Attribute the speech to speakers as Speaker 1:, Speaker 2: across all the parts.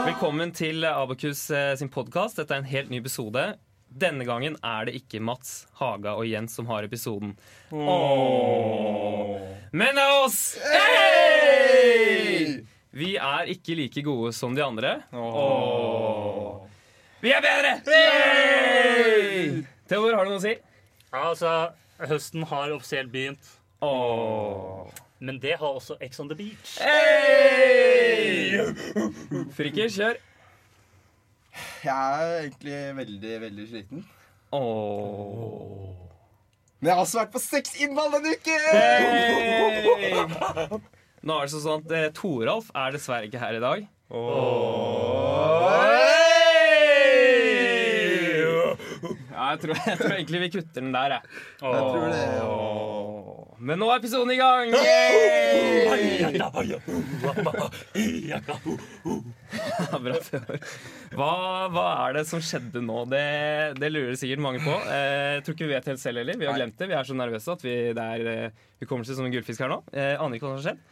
Speaker 1: Velkommen til Abakus eh, sin podkast. Dette er en helt ny episode. Denne gangen er det ikke Mats, Haga og Jens som har episoden. Åh. Men det er oss! Hey! Vi er ikke like gode som de andre. Åh. Vi er bedre! Hey! Theodor, har du noe å si?
Speaker 2: Altså, høsten har offisielt begynt.
Speaker 1: Åh.
Speaker 2: Men det har også Ex on the Beach.
Speaker 1: Hey! Frikker, kjør.
Speaker 3: Jeg er egentlig veldig, veldig sliten.
Speaker 1: Åh.
Speaker 3: Men jeg har også vært på seks innball denne uken!
Speaker 1: Hey! Nå er det sånn at eh, Toralf er dessverre ikke her i dag. Ja, jeg, tror, jeg tror egentlig vi kutter den der, jeg.
Speaker 3: Jeg tror det.
Speaker 1: Men nå er episoden i gang! Ja, bra, Theodor. hva, hva er det som skjedde nå? Det, det lurer sikkert mange på. Eh, jeg tror ikke vi vet helt selv heller. Vi har glemt det. Vi er så nervøse at vi, det er, eh, vi kommer til som en gullfisk her nå. Eh, aner ikke hva som har skjedd.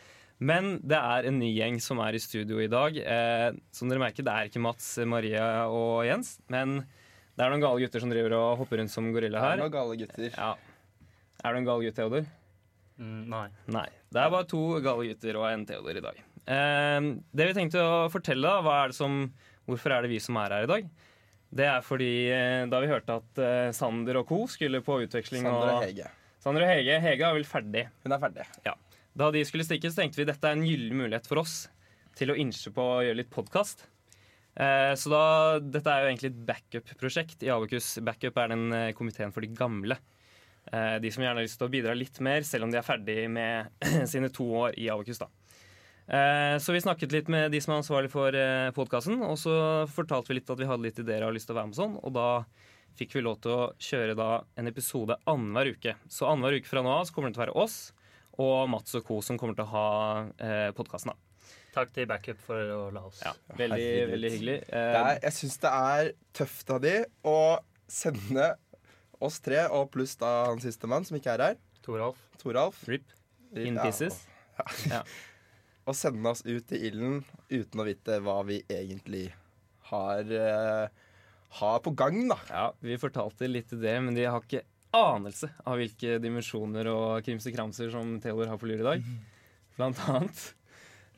Speaker 1: Men det er en ny gjeng som er i studio i dag. Eh, som dere merker, det er ikke Mats, Maria og Jens. Men det er noen gale gutter som driver og hopper rundt som gorilla
Speaker 3: Det er
Speaker 1: her.
Speaker 3: noen gale gutter.
Speaker 1: Ja. Er du en gal gutt, Theodor?
Speaker 2: Mm, nei.
Speaker 1: Nei. Det er bare to gale gutter og en Theodor i dag. Eh, det vi tenkte å fortelle, da, hva er det som, hvorfor er det vi som er her i dag? Det er fordi eh, da vi hørte at eh, Sander og co. skulle på utveksling
Speaker 3: Sander og
Speaker 1: av-
Speaker 3: Hege.
Speaker 1: Sander og Hege. Hege er vel ferdig.
Speaker 3: Hun er ferdig.
Speaker 1: Da de skulle stikke, så tenkte vi dette er en gyllen mulighet for oss til å innse på å gjøre litt podkast. Eh, så da, dette er jo egentlig et backup-prosjekt i Abekus. Backup er den eh, komiteen for de gamle. Eh, de som gjerne har lyst til å bidra litt mer, selv om de er ferdig med sine to år i Abekus. Da. Eh, så vi snakket litt med de som er ansvarlig for eh, podkasten, og så fortalte vi litt at vi hadde litt ideer og lyst til å være med og sånn, og da fikk vi lov til å kjøre da en episode annenhver uke. Så annenhver uke fra nå av så kommer det til å være oss og Mats og co. som kommer til å ha eh, podkasten.
Speaker 2: Takk til backup for å la oss.
Speaker 1: Ja, veldig,
Speaker 3: herregud.
Speaker 1: veldig hyggelig. Eh,
Speaker 3: Det er, jeg syns det er tøft av de å sende oss tre, og pluss da han siste mann som ikke er her,
Speaker 2: Toralf.
Speaker 3: Toralf,
Speaker 1: RIP in
Speaker 3: Ja.
Speaker 1: pieces.
Speaker 3: å sende oss ut i ilden uten å vite hva vi egentlig har, eh, har på gang, da.
Speaker 1: Ja, vi fortalte litt til det, men de har ikke anelse av hvilke dimensjoner og krimsekramser som Theodor har på lur i dag. Blant annet.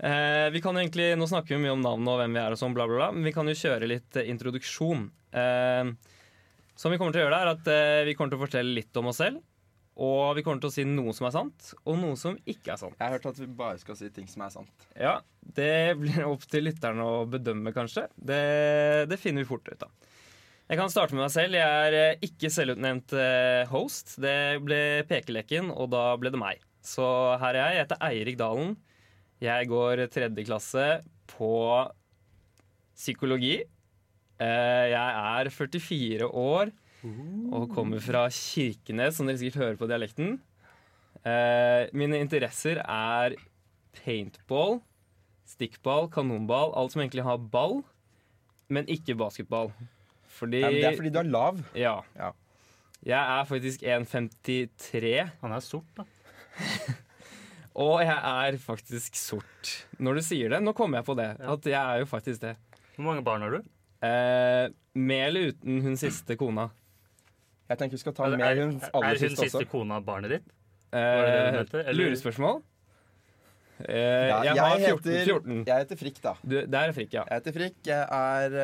Speaker 1: Eh, vi kan jo egentlig, Nå snakker vi mye om navn og hvem vi er, og sånn, bla, bla, bla, men vi kan jo kjøre litt eh, introduksjon. Eh, som vi kommer til å gjøre der, at eh, Vi kommer til å fortelle litt om oss selv. Og vi kommer til å si noe som er sant, og noe som ikke er sant.
Speaker 3: Jeg har hørt at vi bare skal si ting som er sant.
Speaker 1: Ja, det blir opp til lytterne å bedømme, kanskje. Det, det finner vi fort ut av. Jeg kan starte med meg selv. Jeg er eh, ikke selvutnevnt eh, host. Det ble pekeleken, og da ble det meg. Så her er jeg. Jeg heter Eirik Dalen. Jeg går tredje klasse på psykologi. Eh, Jeg er 44 år og kommer fra Kirkenes, som dere sikkert hører på dialekten. Eh, Mine interesser er paintball, stikkball, kanonball, alt som egentlig har ball, men ikke basketball. Fordi,
Speaker 3: Nei, men det er fordi du er lav.
Speaker 1: ja.
Speaker 3: Ja.
Speaker 1: Jeg er faktisk 1,53,
Speaker 2: Han er sort, da.
Speaker 1: og jeg er faktisk sort. Når du sier det, nå kommer jeg på det,
Speaker 2: Ja.
Speaker 1: at jeg er jo faktisk det.
Speaker 2: Hvor mange barn har du?
Speaker 1: Eh, med eller uten hun siste kona?
Speaker 3: Jeg tenker vi skal ta
Speaker 2: Er,
Speaker 3: med
Speaker 2: er,
Speaker 3: hun
Speaker 2: er
Speaker 3: aller
Speaker 2: hun
Speaker 3: siste
Speaker 2: siste
Speaker 3: også.
Speaker 2: kona barnet ditt? det du
Speaker 1: Eh,
Speaker 2: mente, eller?
Speaker 1: lurespørsmål? Eh,
Speaker 3: Ja,
Speaker 1: jeg, har 14.
Speaker 3: heter-
Speaker 1: 14.
Speaker 3: Jeg heter Frikk, da.
Speaker 1: Du, der er frikk, ja.
Speaker 3: Jeg heter Frikk. Jeg, er,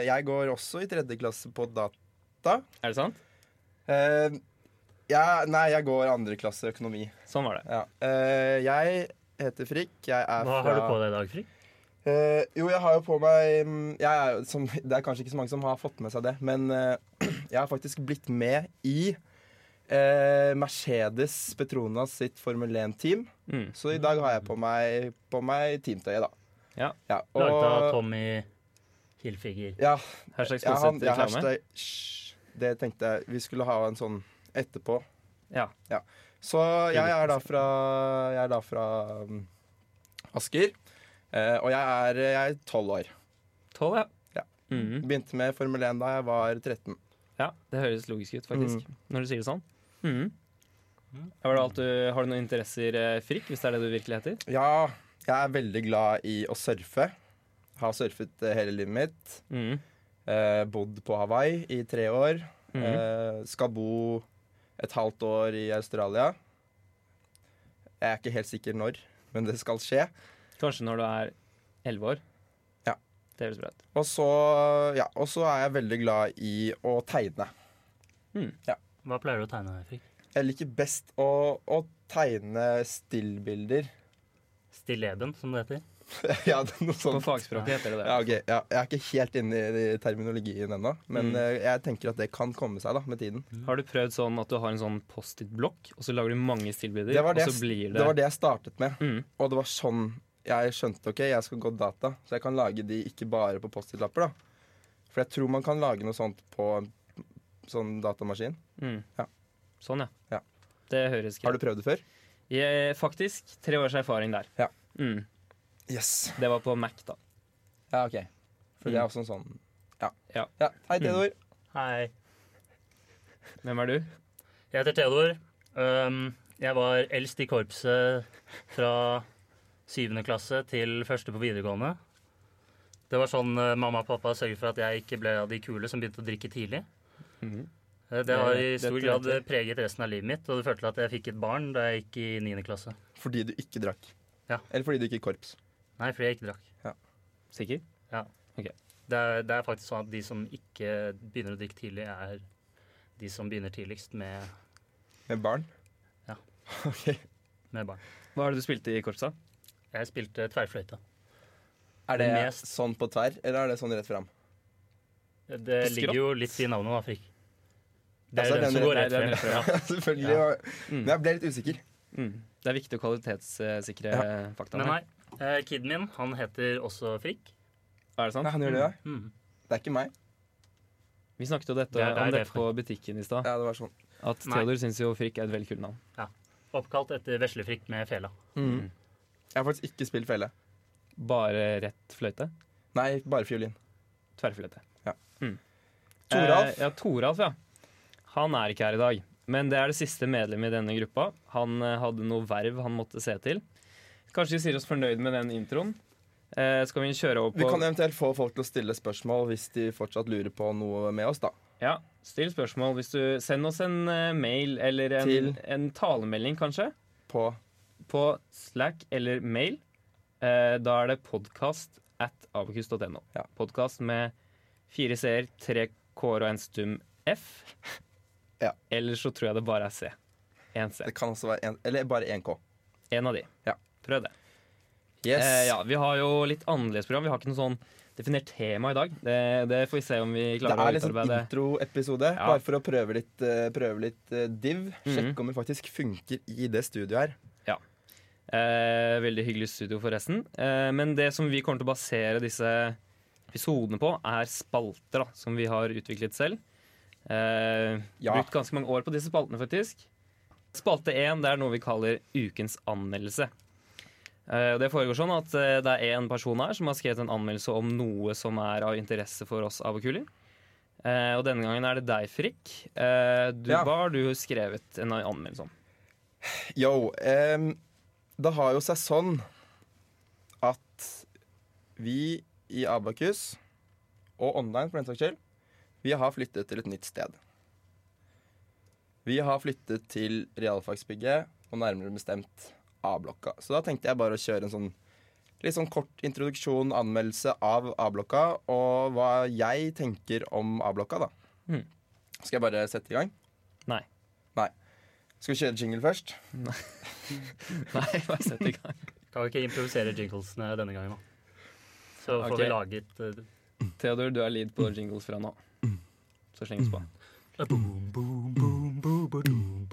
Speaker 3: eh, jeg går også i tredje klasse på data.
Speaker 1: Er det sant?
Speaker 3: Eh, jeg, nei, jeg går andre klasse økonomi.
Speaker 1: Sånn var det.
Speaker 3: Ja. Eh, jeg heter Frikk. Jeg er
Speaker 2: Hva
Speaker 3: fra
Speaker 2: har du på deg i dag, Fri?
Speaker 3: Eh, jo, jeg har jo på meg mm, jeg er, jo som, Det er kanskje ikke så mange som har fått med seg det, men eh, jeg har faktisk blitt med i eh, Mercedes Petronas sitt Formel 1-team.
Speaker 1: Mm.
Speaker 3: Så i dag har jeg på meg, på meg teamtøyet, da.
Speaker 1: Ja.
Speaker 3: og-
Speaker 2: Laget av Tommy Hilfiger.
Speaker 3: ja,
Speaker 1: Hashtag
Speaker 3: ja, han,
Speaker 1: sponset
Speaker 3: ja,
Speaker 1: reklame.
Speaker 3: hashtag, Hysj. det tenkte jeg vi skulle ha en sånn etterpå.
Speaker 1: Ja.
Speaker 3: Så jeg er da fra, jeg er da fra mm, Asker. eh, og jeg er jeg er tolv år.
Speaker 1: 12, ja.
Speaker 3: Ja.
Speaker 1: Mhm.
Speaker 3: Begynte med Formel 1 da jeg var 13. Mm.
Speaker 1: Ja, det høres logisk ut, faktisk. Når du sier det sånn. Mhm. Ja, var det alt du, har du noen interesser, eh, Frikk, hvis det er det du virkelig heter?
Speaker 3: Ja, jeg er veldig glad i å surfe. Har surfet eh, hele livet mitt.
Speaker 1: Mhm.
Speaker 3: Eh, bodd på Hawaii i tre år.
Speaker 1: Mhm.
Speaker 3: Eh, skal bo et halvt år i Australia. Jeg er ikke helt sikker når, men det skal skje.
Speaker 1: Kanskje når du er elleve år?
Speaker 3: Ja.
Speaker 1: Det høres bra ut.
Speaker 3: Og så, ja, og så er jeg veldig glad i å tegne.
Speaker 2: Hva pleier du å tegne, Frikk?
Speaker 3: Jeg liker best å, å tegne stillbilder.
Speaker 2: Stilleben, som det heter.
Speaker 3: ja, det er noe
Speaker 1: På
Speaker 3: sånt.
Speaker 1: fagspråket heter det det.
Speaker 3: Ja, ok. ja, jeg er ikke helt inne i terminologien ennå, men
Speaker 1: Mm.
Speaker 3: eh, jeg tenker at det kan komme seg da, med tiden.
Speaker 1: Har du prøvd sånn at du har en sånn Post-It-blokk, og så lager du mange stillbilder,
Speaker 3: Det var det,
Speaker 1: og så blir
Speaker 3: det...
Speaker 1: det,
Speaker 3: var det jeg startet med,
Speaker 1: Mhm.
Speaker 3: og det var sånn jeg skjønte ok, jeg skal gå data, så jeg kan lage de ikke bare på post-it-lapper. da. For jeg tror man kan lage noe sånt på en sånn datamaskin.
Speaker 1: Mhm.
Speaker 3: Ja.
Speaker 1: Sånn, ja.
Speaker 3: Ja.
Speaker 1: Det høres
Speaker 3: Har
Speaker 1: greit
Speaker 3: du prøvd det før?
Speaker 1: Jeg- Faktisk tre års erfaring der.
Speaker 3: Ja.
Speaker 1: Mhm.
Speaker 3: Yes.
Speaker 1: Det var på Mac, da.
Speaker 3: Ja, ok. For det
Speaker 1: Mm.
Speaker 3: er også en sånn Ja.
Speaker 1: Ja. Mm.
Speaker 3: Hei, Theodor.
Speaker 2: Hei.
Speaker 1: Hvem er du?
Speaker 2: Jeg heter Theodor. Um, jeg var eldst i korpset fra syvende klasse til første på videregående. Det var sånn eh, mamma og pappa sørget for at jeg ikke ble av de kule som begynte å drikke tidlig.
Speaker 1: Mhm.
Speaker 2: Eh, Det har i
Speaker 1: Det-
Speaker 2: stor
Speaker 1: dette
Speaker 2: grad
Speaker 1: vet
Speaker 2: preget resten av livet mitt, og det førte til at jeg fikk et barn da jeg gikk i niende klasse.
Speaker 3: Fordi du ikke drakk.
Speaker 2: Ja.
Speaker 3: Eller fordi du ikke gikk i korps.
Speaker 2: Nei, fordi jeg ikke drakk.
Speaker 1: Sikker?
Speaker 2: Det er, det er faktisk sånn at de som ikke begynner å drikke tidlig, er de som begynner tidligst med,
Speaker 3: Med barn.
Speaker 2: Ja.
Speaker 3: Ok.
Speaker 2: med barn.
Speaker 1: Hva er det du spilte i korpsa?
Speaker 2: Jeg spilte tverrfløyte.
Speaker 3: Er det
Speaker 2: Men mest-
Speaker 3: sånn på tverr, eller er det sånn rett fram?
Speaker 2: Det
Speaker 1: Skrått.
Speaker 2: ligger jo litt i navnet, da, Frikk. Det er
Speaker 3: Altså,
Speaker 2: jo den
Speaker 3: den
Speaker 2: som går
Speaker 1: rett- nei,
Speaker 2: rett
Speaker 1: den
Speaker 2: frem. Ja.
Speaker 3: Selvfølgelig.
Speaker 2: Ja.
Speaker 3: og- Men jeg ble litt usikker.
Speaker 1: Mm. Det er viktig å kvalitetssikre fakta.
Speaker 2: Men nei, eh, kiden min, han heter også Frikk.
Speaker 1: Er det sant?
Speaker 3: Nei, han gjør det, ja.
Speaker 2: Mm.
Speaker 3: Det er ikke meg.
Speaker 1: Vi snakket jo dette,
Speaker 2: Det er der
Speaker 1: om
Speaker 2: det er
Speaker 1: dette på butikken i stad.
Speaker 3: Ja, det var sånn.
Speaker 1: At
Speaker 2: Nei.
Speaker 1: Theodor syns jo Frikk er et veldig kult navn.
Speaker 2: Oppkalt etter Veslefrikk med fela.
Speaker 1: Mm.
Speaker 3: Jeg har faktisk ikke spilt fele.
Speaker 1: Bare rett fløyte?
Speaker 3: Nei, bare fiolin.
Speaker 1: Tverrfløyte.
Speaker 3: Ja.
Speaker 1: Mm.
Speaker 3: Toralf?
Speaker 1: Eh, ja, Toralf, ja. Han er ikke her i dag. Men det er det siste medlemmet i denne gruppa. Han eh, hadde noe verv han måtte se til. Kanskje vi sier oss fornøyd med den introen. Eh, så kan vi kjøre over
Speaker 3: Vi
Speaker 1: på
Speaker 3: kan eventuelt få folk til å stille spørsmål hvis de fortsatt lurer på noe med oss, da.
Speaker 1: Ja, Still spørsmål. Hvis du Send oss en eh, mail eller en,
Speaker 3: Til-
Speaker 1: en talemelding, kanskje.
Speaker 3: På
Speaker 1: på Slack eller mail. Eh, da er det podkast at abokus.no.
Speaker 3: Ja.
Speaker 1: Podkast med fire c-er, tre k-er og en stum f.
Speaker 3: Ja.
Speaker 1: Ellers så tror jeg det bare er c. Én c.
Speaker 3: Det kan også være en, Eller bare 1K.
Speaker 1: En av de.
Speaker 3: Ja.
Speaker 1: Prøv det.
Speaker 3: Yes.
Speaker 1: Eh, ja, vi har jo litt annerledes program. Vi har ikke noe sånn definert tema i dag. Det, det får vi se om vi
Speaker 3: Det
Speaker 1: klarer å
Speaker 3: er litt sånn
Speaker 1: utarbeide.
Speaker 3: introepisode,
Speaker 1: Ja.
Speaker 3: bare for å prøve litt, eh, prøve litt eh, div.
Speaker 1: Mhm.
Speaker 3: Sjekke om vi faktisk funker i det studioet her.
Speaker 1: Eh, veldig hyggelig studio, forresten. Eh, men det som vi kommer til å basere disse episodene på, er spalter da, som vi har utviklet selv. Eh,
Speaker 3: Ja.
Speaker 1: Brukt ganske mange år på disse spaltene, faktisk. Spalte én det er noe vi kaller Ukens anmeldelse. Eh, og det foregår sånn at eh, det er én person her som har skrevet en anmeldelse om noe som er av interesse for oss avokuler. Eh, og denne gangen er det deg, Frikk. Eh, du,
Speaker 3: Ja.
Speaker 1: Hva har du skrevet en anmeldelse om?
Speaker 3: Yo, em, det har jo seg sånn at vi i Abakus, og online for den saks skyld, vi har flyttet til et nytt sted. Vi har flyttet til realfagsbygget, og nærmere bestemt A-blokka. Så da tenkte jeg bare å kjøre en sånn litt sånn kort introduksjon, anmeldelse av A-blokka, og hva jeg tenker om A-blokka, da.
Speaker 1: Mhm.
Speaker 3: Skal jeg bare sette i gang?
Speaker 1: Nei.
Speaker 3: Nei. Skal vi kjøre jingle først?
Speaker 1: Nei, bare sett i gang.
Speaker 2: Kan vi ikke improvisere jinglesene denne gangen, da? Så får
Speaker 1: Ok.
Speaker 2: vi laget eh,
Speaker 1: Theodor, du er lead
Speaker 3: Mm.
Speaker 1: på jingles fra nå. Så slenges på. Mm.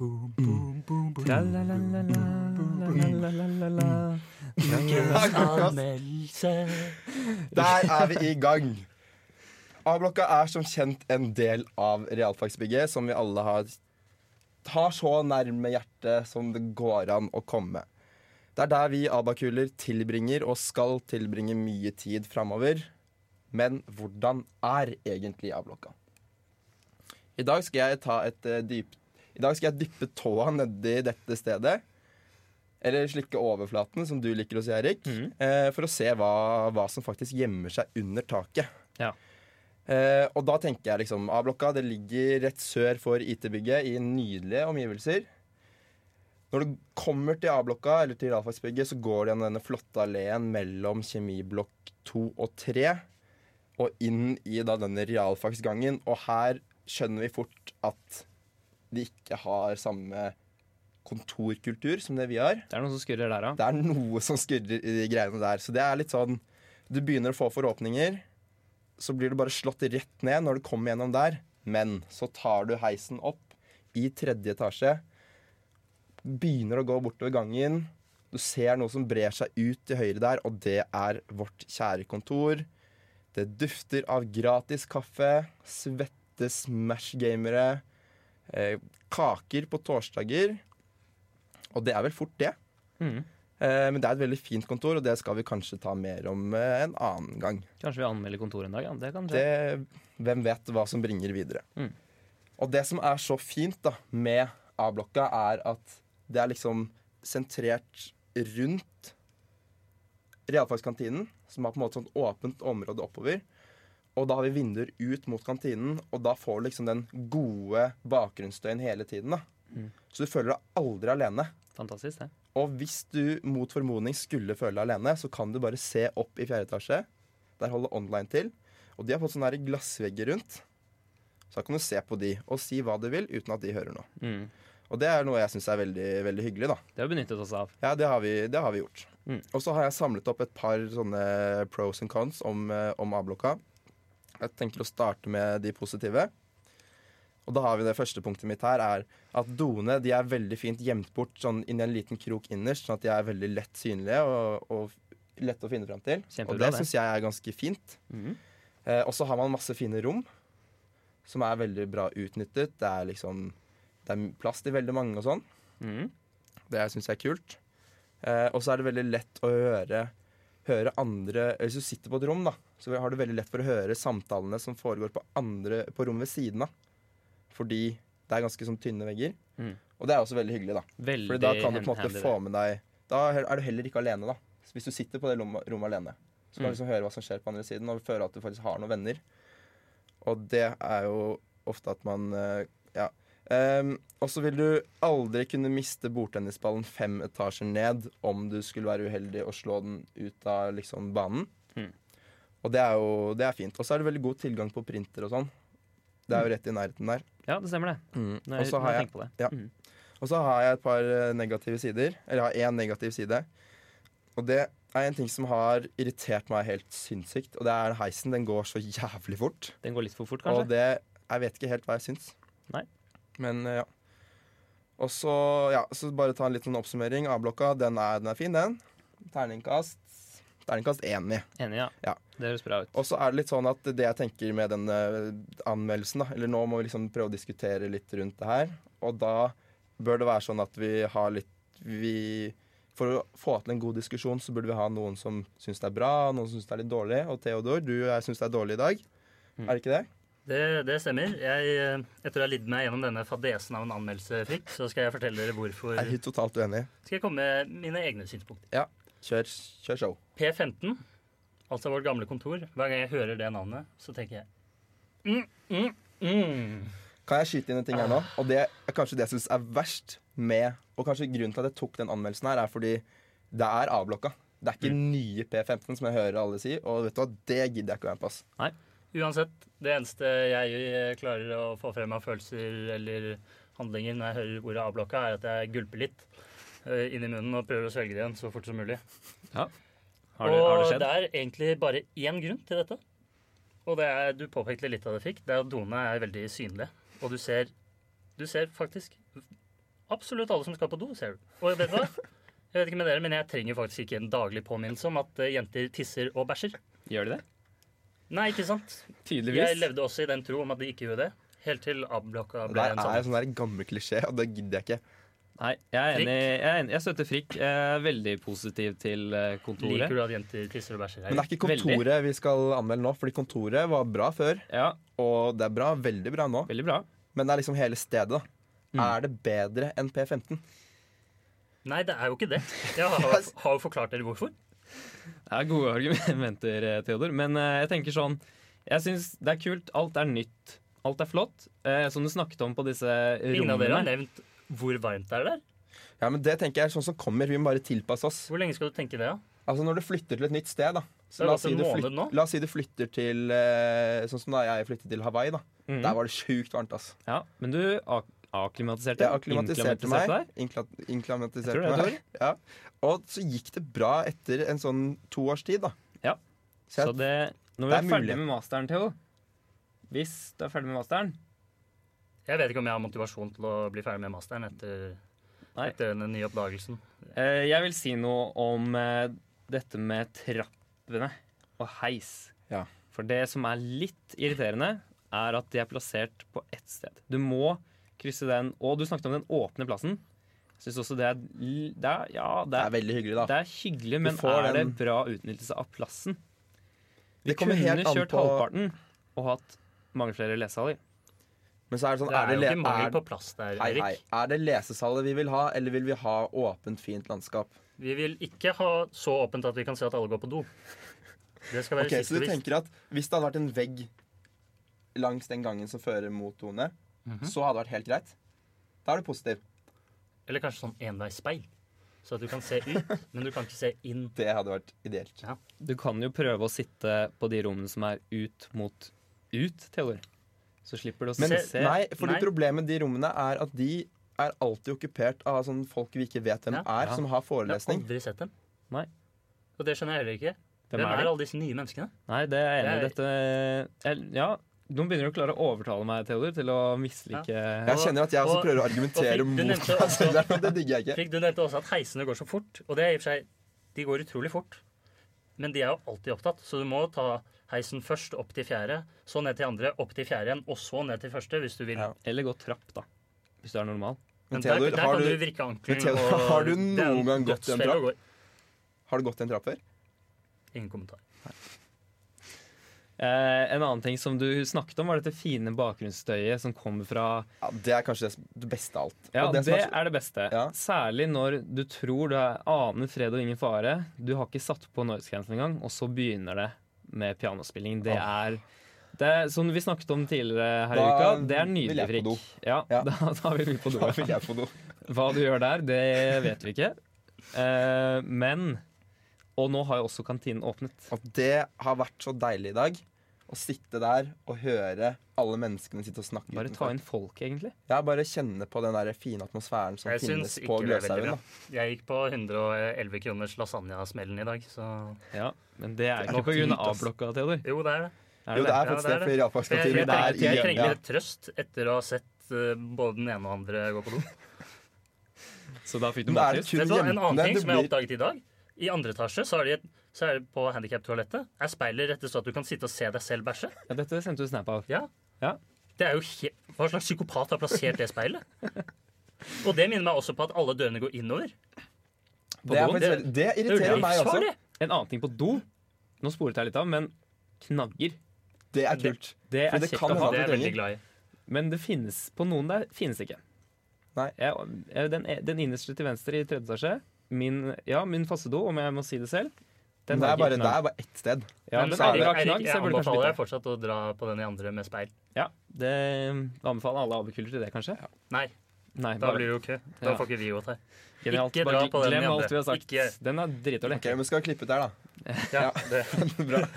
Speaker 3: Der er vi i gang. A-blokka er som kjent en del av realfagsbygget, som vi alle har tar så nærme hjertet som det går an å komme. Det er der vi abakuler tilbringer og skal tilbringe mye tid framover. Men hvordan er egentlig A-blokka? I dag skal jeg ta et eh, dyp, I dag skal jeg dyppe tåa nedi dette stedet. Eller slikke overflaten, som du liker å si, Erik.
Speaker 1: Mhm.
Speaker 3: eh, For å se hva, hva som faktisk gjemmer seg under taket.
Speaker 1: Ja.
Speaker 3: Eh, og da tenker jeg liksom A-blokka det ligger rett sør for IT-bygget i nydelige omgivelser. Når du kommer til A-blokka eller til realfagsbygget, så går du gjennom denne flotte alleen mellom kjemiblokk 2 og 3 og inn i da denne realfagsgangen. Og her skjønner vi fort at de ikke har samme kontorkultur som det vi har.
Speaker 1: Det er noen som skurrer der, ja.
Speaker 3: Det er noe som skurrer i de greiene der. Så det er litt sånn Du begynner å få forhåpninger, så blir du bare slått rett ned når du kommer gjennom der. Men så tar du heisen opp i tredje etasje, begynner å gå bortover gangen. Du ser noe som brer seg ut til høyre der, og det er vårt kjære kontor. Det dufter av gratis kaffe, svette Smash-gamere, eh, kaker på torsdager. Og det er vel fort det.
Speaker 1: Mhm.
Speaker 3: Eh, Men det er et veldig fint kontor, og det skal vi kanskje ta mer om eh, en annen gang.
Speaker 1: Kanskje vi anmelder kontoret en dag, ja. Det kan skje.
Speaker 3: Det, hvem vet hva som bringer videre.
Speaker 1: Mm.
Speaker 3: Og det som er så fint da, med A-blokka, er at det er liksom sentrert rundt realfagskantinen, som har på en måte sånn åpent område oppover. Og da har vi vinduer ut mot kantinen, og da får du liksom den gode bakgrunnsstøyen hele tiden. da.
Speaker 1: Mm.
Speaker 3: Så du føler deg aldri alene.
Speaker 1: Fantastisk, det.
Speaker 3: Og hvis du mot formodning skulle føle deg alene, så kan du bare se opp i fjerde etasje. Der holder online til. Og de har fått sånne her glassvegger rundt. Så da kan du se på de og si hva du vil uten at de hører noe.
Speaker 1: Mhm.
Speaker 3: Og det er noe jeg syns er veldig, veldig hyggelig, da.
Speaker 1: Det har vi benyttet oss av.
Speaker 3: Ja, det har vi, det har vi gjort.
Speaker 1: Mm.
Speaker 3: Og så har jeg samlet opp et par sånne pros and cons om, eh, om A-blokka. Jeg tenker å starte med de positive. Og da har vi det første punktet mitt her, er at doene de er veldig fint gjemt bort sånn inn i en liten krok innerst, sånn at de er veldig lett synlige og, og lette å finne fram til.
Speaker 1: Kjempebra,
Speaker 3: og det
Speaker 1: det.
Speaker 3: syns jeg er ganske fint.
Speaker 1: Mhm.
Speaker 3: Eh, og så har man masse fine rom, som er veldig bra utnyttet. Det er liksom det er plass til veldig mange og sånn.
Speaker 1: Mhm.
Speaker 3: Det syns jeg er kult. Eh, og så er det veldig lett å høre, høre andre Hvis du sitter på et rom, da, så har du veldig lett for å høre samtalene som foregår på, andre, på rom ved siden av. Fordi det er ganske sånn tynne vegger.
Speaker 1: Mm.
Speaker 3: Og det er også veldig hyggelig, da.
Speaker 1: Veldig
Speaker 3: Fordi da kan du på en
Speaker 1: handy,
Speaker 3: måte
Speaker 1: det.
Speaker 3: få med deg Da er du heller ikke alene, da. Så hvis du sitter på det lom- rommet alene, så kan du
Speaker 1: Mm.
Speaker 3: liksom høre hva som skjer på andre siden, og føle at du faktisk har noen venner. Og det er jo ofte at man eh, Ja. Ehm, og så vil du aldri kunne miste bordtennisballen fem etasjer ned om du skulle være uheldig og slå den ut av liksom banen.
Speaker 1: Mm.
Speaker 3: Og det er jo det er fint. Og så er det veldig god tilgang på printer og sånn. Det
Speaker 1: Mm.
Speaker 3: er jo rett i nærheten der.
Speaker 1: Ja, det stemmer, det. Når,
Speaker 3: Og så har jeg
Speaker 1: tenker på det.
Speaker 3: ja.
Speaker 1: Mhm.
Speaker 3: og så har jeg et par eh, negative sider. Eller jeg har én negativ side. Og det er en ting som har irritert meg helt sinnssykt. Og det er heisen. Den går så jævlig fort.
Speaker 1: Den går litt for fort, kanskje?
Speaker 3: Og det Jeg vet ikke helt hva jeg syns.
Speaker 1: Nei.
Speaker 3: Men eh, ja. Og så, ja, så bare ta en liten oppsummering. A-blokka, den er, den er fin, den. Terningkast Terningkast én i.
Speaker 1: Enig, ja.
Speaker 3: Ja.
Speaker 1: Det høres bra ut.
Speaker 3: Og så er det litt sånn at det jeg tenker med den eh, anmeldelsen, da, eller nå må vi liksom prøve å diskutere litt rundt det her, og da bør det være sånn at vi har litt vi, For å få til en god diskusjon, så burde vi ha noen som syns det er bra, og noen som syns det er litt dårlig. Og Theodor, du og jeg syns det er dårlig i dag. Er det ikke det?
Speaker 2: Det, det stemmer. Jeg, eh, etter å ha lidd meg gjennom denne fadesen av en anmeldelse, Frikk, så skal jeg fortelle dere hvorfor.
Speaker 3: Jeg er totalt uenig.
Speaker 2: Skal jeg komme med mine egne synspunkter.
Speaker 3: Ja, kjør, kjør show.
Speaker 2: P15, altså vårt gamle kontor. Hver gang jeg hører det navnet, så tenker jeg mm, mm, mm.
Speaker 3: Kan jeg skyte inn en ting her nå? Og det er kanskje det jeg syns er verst med Og kanskje grunnen til at jeg tok den anmeldelsen her, er fordi det er A-blokka. Det er ikke nye P15, som jeg hører alle si. Og vet du hva, det gidder jeg ikke å være med på. ass.
Speaker 2: Uansett, det eneste jeg eh, klarer å få frem av følelser eller handlinger når jeg hører ordet A-blokka, er at jeg gulper litt eh, inn i munnen og prøver å svelge det igjen så fort som mulig.
Speaker 1: Har det, har det
Speaker 2: Og
Speaker 1: skjedd?
Speaker 2: det er egentlig bare én grunn til dette. Og det er, du påpekte litt av det, Fikk. Det er at doene er veldig synlige. Og du ser, du ser faktisk absolutt alle som skal på do, ser du. Og vet du hva? Jeg vet ikke med dere, men jeg trenger faktisk ikke en daglig påminnelse om at eh, jenter tisser og bæsjer.
Speaker 1: Gjør de det?
Speaker 2: Nei, ikke sant? Jeg
Speaker 1: Tydeligvis.
Speaker 2: levde også i den tro om at de ikke gjorde det. Helt til A-blokka
Speaker 3: Det
Speaker 2: ble
Speaker 3: er
Speaker 2: en
Speaker 3: en
Speaker 2: sånn.
Speaker 3: sånn der gammel klisjé, og det gidder jeg ikke.
Speaker 1: Nei, jeg er
Speaker 2: Frikk?
Speaker 1: enig. Jeg, er enig. jeg støtter Frikk. Jeg er veldig positiv til eh, kontoret.
Speaker 2: Liker du at jenter tisser og bæsjer?
Speaker 3: Men det
Speaker 2: Eirik?
Speaker 3: er ikke kontoret vi skal anmelde nå, fordi kontoret var bra før.
Speaker 1: Ja,
Speaker 3: Og det er bra, veldig bra nå.
Speaker 1: veldig bra.
Speaker 3: Men det er liksom hele stedet. da.
Speaker 1: Mm.
Speaker 3: Er det bedre enn P15?
Speaker 2: Nei, det er jo ikke det. Jeg har, har jo forklart dere hvorfor.
Speaker 1: Det er gode argumenter, eh, Theodor. Men eh, jeg tenker sånn Jeg syns det er kult. Alt er nytt. Alt er flott. Eh, som du snakket om på disse
Speaker 2: Ingen av dere har
Speaker 1: rommene.
Speaker 2: nevnt hvor varmt det er der.
Speaker 3: Ja, men det tenker jeg er sånn som kommer. Vi må bare tilpasse oss.
Speaker 2: Hvor lenge skal du tenke det, da?
Speaker 3: Altså Når du flytter til et nytt sted, da.
Speaker 2: Det
Speaker 3: la,
Speaker 2: har gått
Speaker 3: oss si
Speaker 2: en
Speaker 3: du
Speaker 2: måned
Speaker 3: flyt-
Speaker 2: nå.
Speaker 3: la oss si du flytter til eh, Sånn som da jeg flyttet til Hawaii. da
Speaker 1: Mhm.
Speaker 3: Der var det sjukt varmt. ass
Speaker 1: Ja, men du ak akklimatiserte
Speaker 3: Jeg akklimatiserte meg.
Speaker 1: deg.
Speaker 3: inkla-
Speaker 1: Jeg
Speaker 3: Inklamatiserte
Speaker 1: tror det er
Speaker 3: meg. Ja. Og så gikk det bra etter en sånn to års tid, da.
Speaker 1: Ja.
Speaker 3: Så
Speaker 1: Så
Speaker 3: jeg,
Speaker 1: det, når vi
Speaker 3: Det er
Speaker 1: er, ferdig
Speaker 3: mulig.
Speaker 1: med masteren, Theo Hvis du er ferdig med masteren
Speaker 2: Jeg vet ikke om jeg har motivasjon til å bli ferdig med masteren etter,
Speaker 1: Nei.
Speaker 2: etter denne nye oppdagelsen.
Speaker 1: eh, Jeg vil si noe om eh, dette med trappene og heis.
Speaker 3: Ja.
Speaker 1: For det som er litt irriterende, er at de er plassert på ett sted. Du må krysse den Og du snakket om den åpne plassen. Jeg syns også det er, l- det er Ja,
Speaker 3: det
Speaker 1: det
Speaker 3: er
Speaker 1: er,
Speaker 3: veldig hyggelig, da.
Speaker 1: det er hyggelig, men
Speaker 3: får
Speaker 1: er det
Speaker 3: den-
Speaker 1: bra utnyttelse av plassen? Vi
Speaker 3: Det kommer
Speaker 1: kunne
Speaker 3: helt an
Speaker 1: kjørt
Speaker 3: på-
Speaker 1: halvparten og hatt mange flere lesehaller.
Speaker 3: Men så er det sånn
Speaker 2: Det er
Speaker 3: er det,
Speaker 2: jo
Speaker 3: le
Speaker 2: ikke mangel
Speaker 3: er,
Speaker 2: på plass der,
Speaker 3: hei, hei.
Speaker 2: Erik.
Speaker 3: er det lesesalet vi vil ha, eller vil vi ha åpent, fint landskap?
Speaker 2: Vi vil ikke ha så åpent at vi kan se at alle går på do. Det skal være
Speaker 3: Ok,
Speaker 2: okay,
Speaker 3: Så du
Speaker 2: siste visst.
Speaker 3: tenker at hvis det hadde vært en vegg langs den gangen som fører mot doene,
Speaker 2: Mhm.
Speaker 3: så hadde det vært helt greit? Da er du positiv.
Speaker 2: Eller kanskje sånn enveisspeil. Så at du kan se ut, men du kan ikke se inn.
Speaker 3: Det hadde vært ideelt.
Speaker 1: Du kan jo prøve å sitte på de rommene som er ut mot ut, Theodor. Så slipper du å
Speaker 3: Men
Speaker 1: se.
Speaker 2: Se-
Speaker 3: nei, fordi
Speaker 2: nei.
Speaker 3: problemet med de rommene er at de er alltid okkupert av sånne folk vi ikke vet hvem
Speaker 2: Ja.
Speaker 3: er,
Speaker 1: Ja.
Speaker 3: som har
Speaker 2: Jeg har
Speaker 3: forelesning.
Speaker 2: aldri sett dem.
Speaker 1: Nei.
Speaker 2: Og det skjønner jeg heller ikke.
Speaker 1: Hvem er de?
Speaker 2: alle disse nye menneskene?
Speaker 1: Nei, det er jeg enig i.
Speaker 2: Jeg-
Speaker 1: Dette jeg, Ja, nå begynner du å klare å overtale meg, Theodor, til å mislike
Speaker 3: Jeg kjenner at jeg også
Speaker 2: Og-
Speaker 3: prøver å
Speaker 2: og
Speaker 3: argumentere
Speaker 2: fikk- du
Speaker 3: mot
Speaker 2: nevnte
Speaker 3: meg selv.
Speaker 2: også-
Speaker 3: og Det digger jeg ikke.
Speaker 2: Frik, du nevnte også at heisene går så fort, og det er i og for seg De går utrolig fort, men de er jo alltid opptatt, så du må ta heisen først opp til fjerde, så ned til andre, opp til fjerde igjen, og så ned til første, hvis du vil.
Speaker 3: Ja.
Speaker 1: Eller gå trapp, da. Hvis du er normal.
Speaker 3: Men
Speaker 2: Men der,
Speaker 3: Theodor,
Speaker 2: der
Speaker 3: har
Speaker 2: kan du,
Speaker 3: du,
Speaker 2: vrikke ankelen.
Speaker 3: Men Theodor,
Speaker 2: og
Speaker 3: har du
Speaker 2: det er en
Speaker 3: noen gang gått i en
Speaker 2: dødsfelle
Speaker 3: trapp?
Speaker 2: å gå i.
Speaker 3: har du gått i en trapp før?
Speaker 2: Ingen kommentar.
Speaker 1: Eh, en annen ting som du snakket om, var dette fine bakgrunnsstøyet som kommer fra
Speaker 3: Ja, det er kanskje det som- det beste av alt.
Speaker 1: Ja,
Speaker 3: Og
Speaker 1: det,
Speaker 3: som er,
Speaker 1: er det beste.
Speaker 3: Ja.
Speaker 1: Særlig når du tror du er- aner fred og ingen fare. Du har ikke satt på noise-grensen engang, og så begynner det med pianospilling. Det er det er, Som vi snakket om tidligere her i
Speaker 3: Ah. Da
Speaker 1: uka, det er
Speaker 3: vil
Speaker 1: nydelig,
Speaker 3: jeg på do.
Speaker 1: Frikk. Ja,
Speaker 3: Ja.
Speaker 1: Da, da vil vi på do.
Speaker 3: da vil jeg på do.
Speaker 1: Hva du gjør der, det vet vi ikke. Eh, men Og nå har jo også kantinen åpnet.
Speaker 3: Og det har vært så deilig i dag. Å sitte der og høre alle menneskene sitte og snakke.
Speaker 1: Bare ta
Speaker 3: utenfor.
Speaker 1: inn folk, egentlig.
Speaker 3: Ja, bare kjenne på den der fine atmosfæren som
Speaker 2: Jeg syns
Speaker 3: finnes
Speaker 2: ikke
Speaker 3: på
Speaker 2: det er veldig
Speaker 3: Gløshaugen.
Speaker 2: bra.
Speaker 3: da.
Speaker 2: Jeg gikk på 111 kroners lasagna-smellen i dag, så
Speaker 1: Ja, Men det er ikke
Speaker 3: Det er ikke
Speaker 1: pga.
Speaker 3: hit, ass.
Speaker 1: A-blokka, Theodor.
Speaker 2: Jo, det er
Speaker 1: Er det
Speaker 3: Jo,
Speaker 2: det.
Speaker 3: det
Speaker 1: det?
Speaker 3: er
Speaker 2: Ja,
Speaker 3: faktisk
Speaker 2: det er
Speaker 3: det, fordi
Speaker 2: det. For jeg, jeg,
Speaker 3: realfagskantinen er
Speaker 2: trenger- jeg
Speaker 3: i
Speaker 2: trenger
Speaker 3: ja.
Speaker 2: litt trøst etter å ha sett eh, både den ene og den andre gå på do.
Speaker 1: Så da fikk du
Speaker 3: Men er det
Speaker 1: matlyst.
Speaker 3: kun
Speaker 2: Vet du hva, En annen
Speaker 3: jentene
Speaker 2: ting
Speaker 3: det
Speaker 2: som jeg
Speaker 3: blir
Speaker 2: oppdaget i dag. I andre etasje så er det, et- så er det på handikaptoalettet er speilet rettet så at du kan sitte og se deg selv bæsje.
Speaker 1: Ja, dette sendte du snap av.
Speaker 2: Ja.
Speaker 1: Ja.
Speaker 2: Det er jo he Hva slags psykopat har plassert det speilet? Og det minner meg også på at alle dørene går innover.
Speaker 1: På
Speaker 3: Det, er
Speaker 1: doen.
Speaker 3: faktisk, veldig- det irriterer meg også.
Speaker 2: livsfarlig.
Speaker 1: En annen ting på do. Nå sporet jeg litt av, men knagger.
Speaker 3: Det er kult.
Speaker 1: Det
Speaker 3: For
Speaker 1: er
Speaker 3: det
Speaker 1: kjekt
Speaker 3: kan
Speaker 1: å
Speaker 2: Det
Speaker 1: ha.
Speaker 2: er jeg
Speaker 3: trenger.
Speaker 2: veldig glad i.
Speaker 1: Men det finnes på noen der finnes ikke.
Speaker 3: Nei.
Speaker 1: Jeg, jeg, den, den innerste til venstre i tredje etasje, min, ja, min faste do, om jeg må si det selv
Speaker 3: Men
Speaker 1: den
Speaker 3: det
Speaker 1: har
Speaker 3: er bare,
Speaker 1: ikke
Speaker 3: det
Speaker 1: knagg.
Speaker 3: er bare ett sted.
Speaker 1: Ja,
Speaker 2: Men
Speaker 1: den
Speaker 3: så er
Speaker 1: er
Speaker 3: det-
Speaker 1: ikke
Speaker 2: Eirik,
Speaker 1: knagg, så
Speaker 2: jeg
Speaker 1: jeg burde kanskje
Speaker 2: anbefaler deg
Speaker 1: bytte.
Speaker 2: fortsatt å dra på den i andre med speil.
Speaker 1: Ja, det anbefaler alle abokuler til det, kanskje.
Speaker 2: Nei,
Speaker 1: Nei,
Speaker 2: da
Speaker 1: bare
Speaker 2: blir det jo kø. Da
Speaker 1: Ja.
Speaker 2: får ikke vi gått her.
Speaker 1: genialt.
Speaker 2: ikke
Speaker 1: Bare
Speaker 2: dra på den
Speaker 1: glem
Speaker 2: igjen,
Speaker 1: alt vi har sagt.
Speaker 2: ikke-
Speaker 1: Den er dritdårlig.
Speaker 3: Ok, men Skal vi klippe ut der, da?
Speaker 2: Ja,
Speaker 3: Ja.
Speaker 2: det.
Speaker 3: Bra.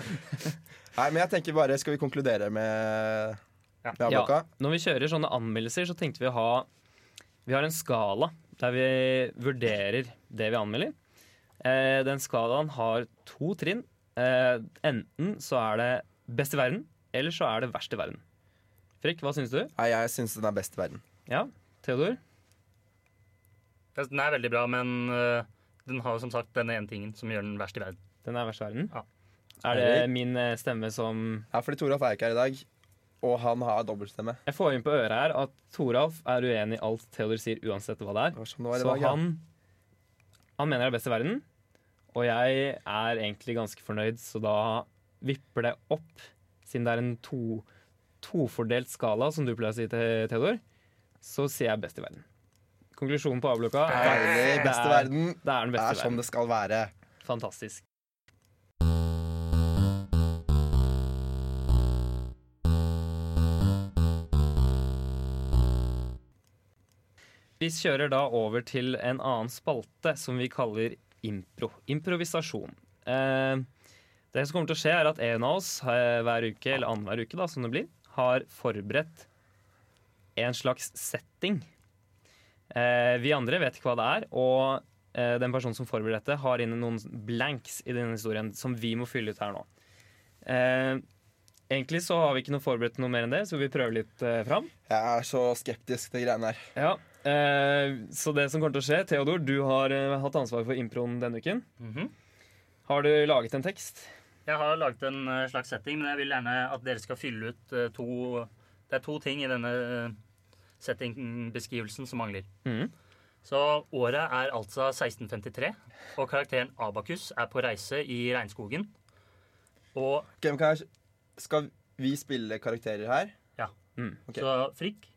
Speaker 3: Nei, men jeg tenker bare Skal vi konkludere med,
Speaker 2: Ja.
Speaker 3: med
Speaker 1: Ja,
Speaker 3: avblokka?
Speaker 1: når vi kjører sånne anmeldelser, så tenkte vi å ha Vi har en skala der vi vurderer det vi anmelder. Eh, den skalaen har to trinn. Eh, enten så er det best i verden, eller så er det verst i verden. Frikk, hva syns du?
Speaker 3: Nei, jeg syns den er best i verden.
Speaker 1: Ja, Theodor?
Speaker 2: Den er veldig bra, men øh, den har jo som sagt denne ene tingen som gjør den verst i verden.
Speaker 1: Den er verst i verden.
Speaker 2: Ja.
Speaker 1: Er det min eh, stemme som
Speaker 3: Ja, fordi Toralf er ikke her i dag, og han har dobbeltstemme.
Speaker 1: Jeg får inn på øret her at Toralf er uenig i alt Theodor sier, uansett hva det er.
Speaker 3: Det var sånn det var i
Speaker 1: Så
Speaker 3: dag, ja.
Speaker 1: han, han mener det er best i verden, og jeg er egentlig ganske fornøyd, så da vipper det opp, siden det er en to, tofordelt skala, som du pleier å si til Theodor. så sier jeg best i verden. Konklusjonen på A-blokka er at
Speaker 3: Deilig. Best i
Speaker 1: Det er-
Speaker 3: verden.
Speaker 1: det er den
Speaker 3: Det
Speaker 1: beste
Speaker 3: er
Speaker 1: i
Speaker 3: sånn
Speaker 1: verden.
Speaker 3: det skal være.
Speaker 1: Fantastisk. Vi kjører da over til en annen spalte som vi kaller impro. Improvisasjon. Eh, det som kommer til å skje, er at en av oss eh, hver uke, eller annenhver uke, da, som det blir, har forberedt en slags setting. Eh, vi andre vet ikke hva det er, og eh, den personen som forbereder dette, har inne noen blanks i denne historien som vi må fylle ut her nå. Eh, egentlig så har vi ikke noe forberedt noe mer enn det, så vi prøver litt eh, fram.
Speaker 3: Jeg er så skeptisk til greiene her.
Speaker 1: Ja, eh, Så det som kommer til å skje Theodor, du har eh, hatt ansvar for improen denne uken.
Speaker 2: Mhm.
Speaker 1: Har du laget en tekst?
Speaker 2: Jeg har laget en eh, slags setting, men jeg vil gjerne at dere skal fylle ut eh, to Det er to ting i denne eh, settingbeskrivelsen som mangler.
Speaker 1: Mhm.
Speaker 2: Så året er altså 1653, og karakteren Abakus er på reise i regnskogen. Og
Speaker 3: Ok, men kan jeg, skal vi spille karakterer her? Ok.
Speaker 2: så Frikk,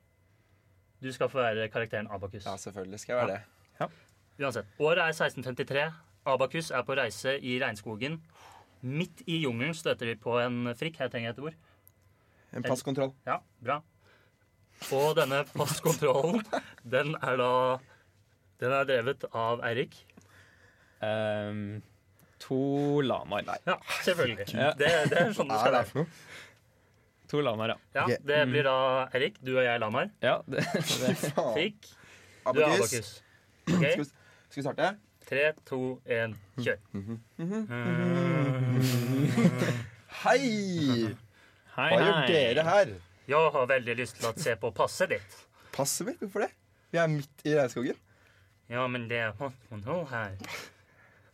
Speaker 2: du skal få være karakteren Abakus.
Speaker 3: Ja, selvfølgelig skal jeg være det.
Speaker 2: Uansett. Året er 1653. Abakus er på reise i regnskogen. Midt i jungelen støter de på en frikk. Her trenger jeg et ord.
Speaker 3: En passkontroll.
Speaker 2: Ja, bra. Og denne passkontrollen, den er da Den er drevet av Eirik.
Speaker 1: Eh, to lamaer.
Speaker 2: Ja, selvfølgelig.
Speaker 1: Ja.
Speaker 2: Det, det er sånn
Speaker 3: Hva
Speaker 2: det
Speaker 3: er
Speaker 2: skal
Speaker 3: det
Speaker 2: være.
Speaker 3: for noe?
Speaker 1: To lamaer, ja.
Speaker 2: Ja,
Speaker 3: Ok.
Speaker 2: det blir da Eirik, du og jeg lamaer.
Speaker 1: ja det, det.
Speaker 3: Faen.
Speaker 2: Frikk, du er
Speaker 3: Abakus.
Speaker 2: Abakus. Ok,
Speaker 3: Skal vi- skal vi starte?
Speaker 2: Tre, to, én, kjør.
Speaker 3: Hei!
Speaker 1: Hei,
Speaker 3: Hva gjør
Speaker 1: hei.
Speaker 3: dere her?
Speaker 2: Jeg har veldig lyst til å se på passet ditt.
Speaker 3: Passet mitt? Hvorfor det? Vi er midt i regnskogen.
Speaker 2: Ja, men det er håndkontroll her.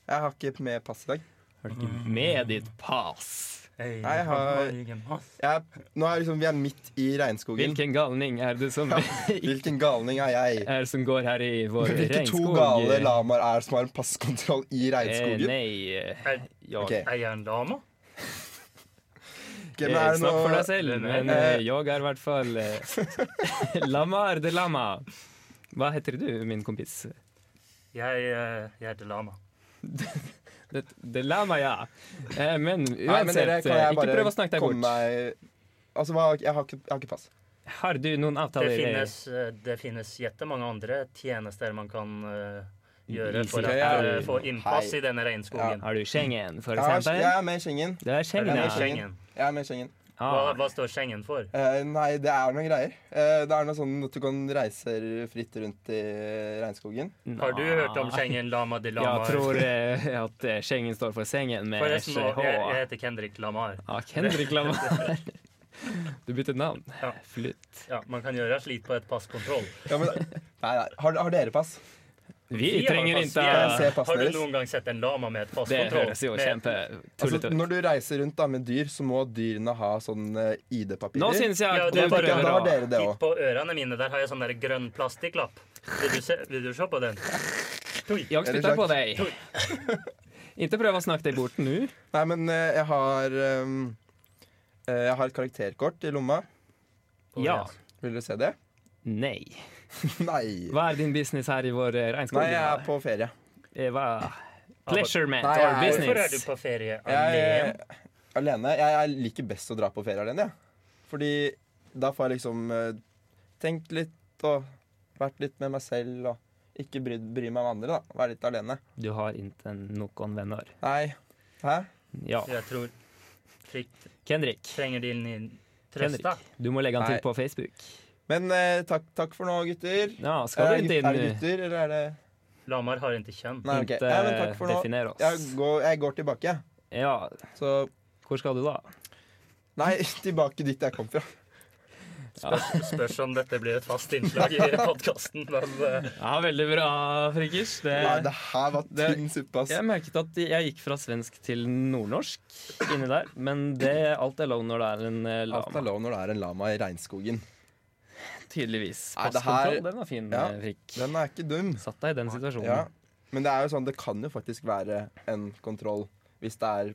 Speaker 3: Jeg har ikke med pass i dag.
Speaker 1: Har du ikke med ditt pass?
Speaker 2: Jeg
Speaker 3: Jeg har-
Speaker 2: ingen pass.
Speaker 3: Jeg, nå er liksom, vi er midt i regnskogen.
Speaker 1: Hvilken galning er det som
Speaker 3: Hvilken galning er jeg?
Speaker 1: er det som går her i vår
Speaker 3: Hvilke to
Speaker 1: regnskog?
Speaker 3: gale lamaer er det som har en passkontroll i
Speaker 1: Eh,
Speaker 3: regnskogen?
Speaker 1: nei eh,
Speaker 2: Er,
Speaker 1: jeg,
Speaker 3: Ok.
Speaker 2: er jeg en lama?
Speaker 3: Ok, men
Speaker 1: eh,
Speaker 3: er det
Speaker 1: Snakk for
Speaker 3: noe,
Speaker 1: deg selv,
Speaker 2: Nei, nei.
Speaker 1: men eh,
Speaker 3: Eh.
Speaker 1: jeg er i hvert fall eh, Lama er det lama. Hva heter du, min kompis?
Speaker 2: Jeg, eh, jeg heter lama.
Speaker 1: Det, det lama, ja. Eh, men
Speaker 3: nei, men dere,
Speaker 1: uansett,
Speaker 3: kan
Speaker 1: eh,
Speaker 3: jeg
Speaker 1: ikke
Speaker 3: bare
Speaker 1: prøv å snakke deg
Speaker 3: komme
Speaker 1: bort.
Speaker 3: meg Altså, hva, jeg, har ikke, jeg har ikke pass.
Speaker 1: Har du noen
Speaker 2: Det
Speaker 1: avtaler?
Speaker 2: finnes, eh, det finnes jettemange andre tjenester man kan eh, gjøre for å
Speaker 1: Isik-
Speaker 2: eh,
Speaker 1: Hei.
Speaker 2: få innpass i denne regnskogen.
Speaker 1: Har du Schengen, for
Speaker 3: Jeg, har, jeg
Speaker 1: eksempel?
Speaker 3: er med i Schengen.
Speaker 1: Det er
Speaker 2: Er det
Speaker 1: Schengen,
Speaker 2: med
Speaker 1: ja.
Speaker 2: Schengen?
Speaker 3: Jeg er med i Schengen.
Speaker 2: Hva,
Speaker 1: Ah,
Speaker 2: hva står Schengen for?
Speaker 3: Eh, nei, det er noen greier. Eh, det er noe sånn at du kan reise fritt rundt i regnskogen.
Speaker 2: Har du hørt om Schengen Lama de
Speaker 1: Ah. Jeg
Speaker 2: Lama?
Speaker 1: tror eh, at eh, Schengen står for sengen med
Speaker 2: Forresten, nå,
Speaker 1: SH.
Speaker 2: jeg, jeg heter Kendrick Lamar.
Speaker 1: Ja, Kendrick Lamar. Du byttet navn.
Speaker 2: Ja.
Speaker 1: Flytt.
Speaker 2: Ja, man kan gjøre slik på et passkontroll.
Speaker 3: Ja, men, nei, nei, har, har dere pass?
Speaker 1: Vi
Speaker 2: Vi har
Speaker 1: trenger
Speaker 2: pass-
Speaker 1: ikke
Speaker 2: vi
Speaker 3: Jeg ser
Speaker 2: er-
Speaker 3: passet
Speaker 2: Har du
Speaker 3: deres.
Speaker 2: noen gang sett en lama med et
Speaker 1: Det
Speaker 2: passkontroll?
Speaker 1: høres jo
Speaker 2: Med-
Speaker 3: Altså,
Speaker 1: kjempetullete ut.
Speaker 3: når du reiser rundt da med dyr, så må dyrene ha sånn eh, ID-papirer.
Speaker 1: Nå syns jeg
Speaker 2: Ja,
Speaker 1: at
Speaker 2: det
Speaker 1: du
Speaker 2: tenker jeg,
Speaker 1: prøver
Speaker 3: da
Speaker 1: å
Speaker 3: var dere det
Speaker 2: Titt
Speaker 3: òg.
Speaker 2: på ørene mine, der har jeg sånn der grønn plastikklapp. Vil du se, vil du se på den?
Speaker 1: Jeg
Speaker 3: Er det
Speaker 1: spytter på
Speaker 3: slags-
Speaker 1: deg. Ikke prøv å snakke deg bort nå.
Speaker 3: Nei, men eh, jeg har ehm, eh, Jeg har et karakterkort i lomma.
Speaker 1: Ja.
Speaker 3: Vil dere se det?
Speaker 1: Nei.
Speaker 3: Nei.
Speaker 1: Hva er din business her i vår eh, regnskog?
Speaker 3: Nei, jeg er på ferie.
Speaker 1: Eh, hva- Pleasure man
Speaker 3: Nei,
Speaker 1: or
Speaker 3: jeg-
Speaker 2: Hvorfor er du
Speaker 1: business.
Speaker 2: på ferie
Speaker 3: Jeg,
Speaker 2: alene?
Speaker 3: alene. Jeg, jeg liker best å dra på ferie alene, jeg. Fordi da får jeg liksom eh, tenkt litt og vært litt med meg selv og ikke bry, bry meg om andre, da. Være litt alene.
Speaker 1: Du har ikke noen venner.
Speaker 3: Nei. Hæ?
Speaker 1: Ja.
Speaker 2: Jeg tror Frikt
Speaker 1: Kendrick.
Speaker 2: trenger din trøst,
Speaker 1: Kendrick.
Speaker 2: da.
Speaker 1: Du må legge han til
Speaker 3: Nei.
Speaker 1: på Facebook.
Speaker 3: Men eh, takk, takk for nå, gutter.
Speaker 1: Ja, skal
Speaker 3: Eh,
Speaker 1: du
Speaker 3: gutt-
Speaker 1: ikke
Speaker 3: er det
Speaker 1: inn
Speaker 3: gutter, eller er det
Speaker 2: Lamaer har ikke kjønn.
Speaker 3: Nei, ok.
Speaker 1: Ikke
Speaker 3: Nei, men takk for nå.
Speaker 1: eh, definere
Speaker 3: Jeg
Speaker 1: oss.
Speaker 3: går, jeg går tilbake, jeg.
Speaker 1: Ja,
Speaker 3: Så
Speaker 1: hvor skal du da?
Speaker 3: Nei, tilbake dit jeg kom fra.
Speaker 2: Spørs om dette blir et fast innslag i podkasten. Men eh,
Speaker 1: Ja, veldig bra, Frikkers. Det,
Speaker 3: Nei, det her var
Speaker 1: det-
Speaker 3: tynn suppe, ass.
Speaker 1: jeg merket at jeg gikk fra svensk til nordnorsk inni der, men det er alt er lov når det er en eh,
Speaker 3: Alt er
Speaker 1: lama.
Speaker 3: lov når det er en lama i regnskogen.
Speaker 1: Tydeligvis.
Speaker 3: Nei, det her-
Speaker 1: Passkontroll, den var fin,
Speaker 3: Ja.
Speaker 1: eh, Frikk.
Speaker 3: Den er ikke dum.
Speaker 1: Satt deg i den situasjonen.
Speaker 3: Ja. Men det er jo sånn, det kan jo faktisk være en kontroll hvis det er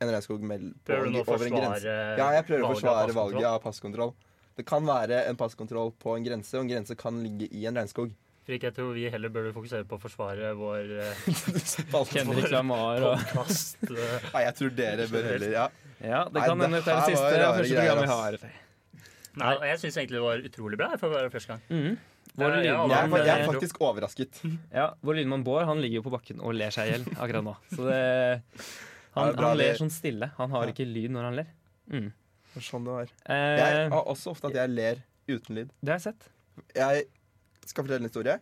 Speaker 3: en regnskog mell- på
Speaker 2: prøver du
Speaker 3: en-
Speaker 2: nå å
Speaker 3: over en
Speaker 2: forsvare
Speaker 3: grense. Ja, jeg prøver å
Speaker 2: valget
Speaker 3: forsvare
Speaker 2: av passkontroll?
Speaker 3: valget av passkontroll. Det kan være en passkontroll på en grense, og en grense kan ligge i en regnskog.
Speaker 2: Frik, jeg tror vi heller burde fokusere på å forsvare vår eh,
Speaker 1: Kendrick Lamar og
Speaker 2: podcast. eh,
Speaker 3: Nei, jeg tror dere bør heller Ja,
Speaker 1: Ja, det
Speaker 3: Nei,
Speaker 1: kan
Speaker 3: det
Speaker 1: hende dette er
Speaker 3: her
Speaker 1: det
Speaker 3: var
Speaker 1: siste
Speaker 3: rare
Speaker 1: og første
Speaker 3: greier,
Speaker 1: program vi har.
Speaker 2: Nei, jeg syns egentlig det var utrolig bra for å være første gang.
Speaker 1: Mhm.
Speaker 2: Ja,
Speaker 1: Vår
Speaker 2: ja,
Speaker 1: lydmann,
Speaker 3: jeg, er fa- jeg er
Speaker 1: eh,
Speaker 3: faktisk overrasket.
Speaker 1: ja, vår lydmann Bård han ligger jo på bakken og ler seg i hjel akkurat nå. Så det, han,
Speaker 3: Ja, det er bra,
Speaker 1: han ler
Speaker 3: det-
Speaker 1: sånn stille. Han har
Speaker 3: Ja.
Speaker 1: ikke lyd når han ler. Mhm.
Speaker 3: Sånn det var. Jeg
Speaker 1: Eh,
Speaker 3: har også ofte at jeg ler uten lyd.
Speaker 1: det har jeg sett.
Speaker 3: Jeg skal fortelle en historie.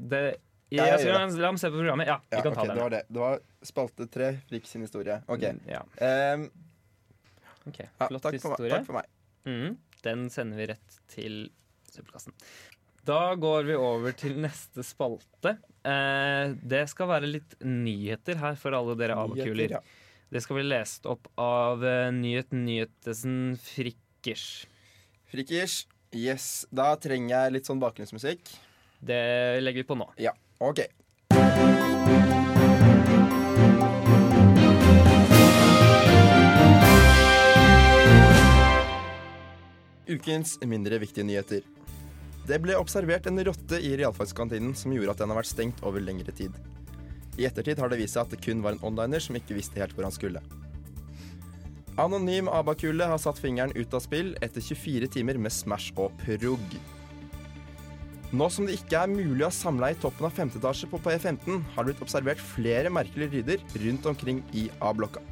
Speaker 1: Det, jeg,
Speaker 3: Ja, jeg
Speaker 1: skal,
Speaker 3: gjør
Speaker 1: la ham se på programmet. Ja, vi
Speaker 3: Ja,
Speaker 1: kan
Speaker 3: ok,
Speaker 1: ta
Speaker 3: det
Speaker 1: den. Mm,
Speaker 3: var det. Det var spalte tre, Frikk sin historie. Ok.
Speaker 1: Ja,
Speaker 3: Ehm,
Speaker 1: ok.
Speaker 3: ja,
Speaker 1: Flott
Speaker 3: takk, for meg,
Speaker 1: historie.
Speaker 3: takk for meg.
Speaker 1: Mhm. Den sender vi rett til søppelkassen. Da går vi over til neste spalte. Eh, det skal være litt nyheter her for alle dere
Speaker 3: Nyheter,
Speaker 1: avakuler.
Speaker 3: ja.
Speaker 1: Det skal bli lest opp av eh, Nyhet Nyhetesen Frikkers.
Speaker 3: Frikkers. Yes. Da trenger jeg litt sånn bakgrunnsmusikk.
Speaker 1: Det legger vi på nå.
Speaker 3: Ja, ok. Ukens mindre viktige nyheter. Det ble observert en rotte i realfagskantinen som gjorde at den har vært stengt over lengre tid. I ettertid har det vist seg at det kun var en onliner som ikke visste helt hvor han skulle. Anonym abakule har satt fingeren ut av spill etter 24 timer med Smash og prog. Nå som det ikke er mulig å samle i toppen av 5. etasje på P15, har det blitt observert flere merkelige lyder rundt omkring i A-blokka.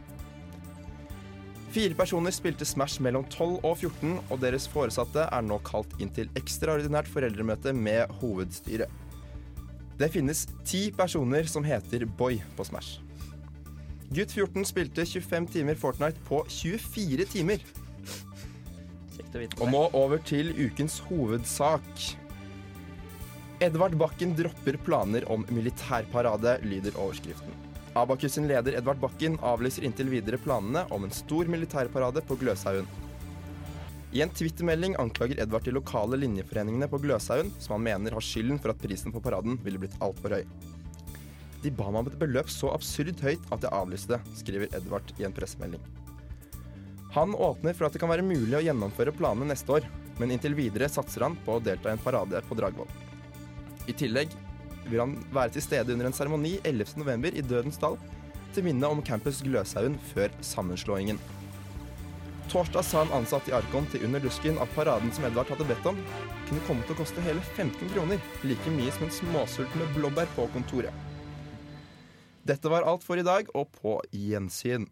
Speaker 3: Fire personer spilte Smash mellom 12 og 14, og deres foresatte er nå kalt inn til ekstraordinært foreldremøte med hovedstyret. Det finnes ti personer som heter Boy på Smash. Gutt 14 spilte 25 timer Fortnite på 24 timer.
Speaker 1: Kjekt å vite
Speaker 3: Og
Speaker 1: det.
Speaker 3: nå over til ukens hovedsak. Edvard Bakken dropper planer om militærparade, lyder overskriften. Abakus sin leder Edvard Bakken avlyser inntil videre planene om en stor militærparade på Gløshaugen. I en twittermelding anklager Edvard de lokale linjeforeningene på Gløshaugen, som han mener har skylden for at prisen på paraden ville blitt altfor høy. De ba meg om et beløp så absurd høyt at jeg avlyste det, skriver Edvard i en pressemelding. Han åpner for at det kan være mulig å gjennomføre planene neste år, men inntil videre satser han på å delta i en parade på Dragvoll. I tillegg vil han være til stede under en seremoni 11.11. i Dødens Dal, til minne om campus Gløshaugen før sammenslåingen. Torsdag sa en ansatt i Arkon til Under Dusken at paraden som Edvard hadde bedt om, kunne komme til å koste hele 15 kroner, like mye som en småsult med blåbær på kontoret. Dette var alt for i dag, og på gjensyn.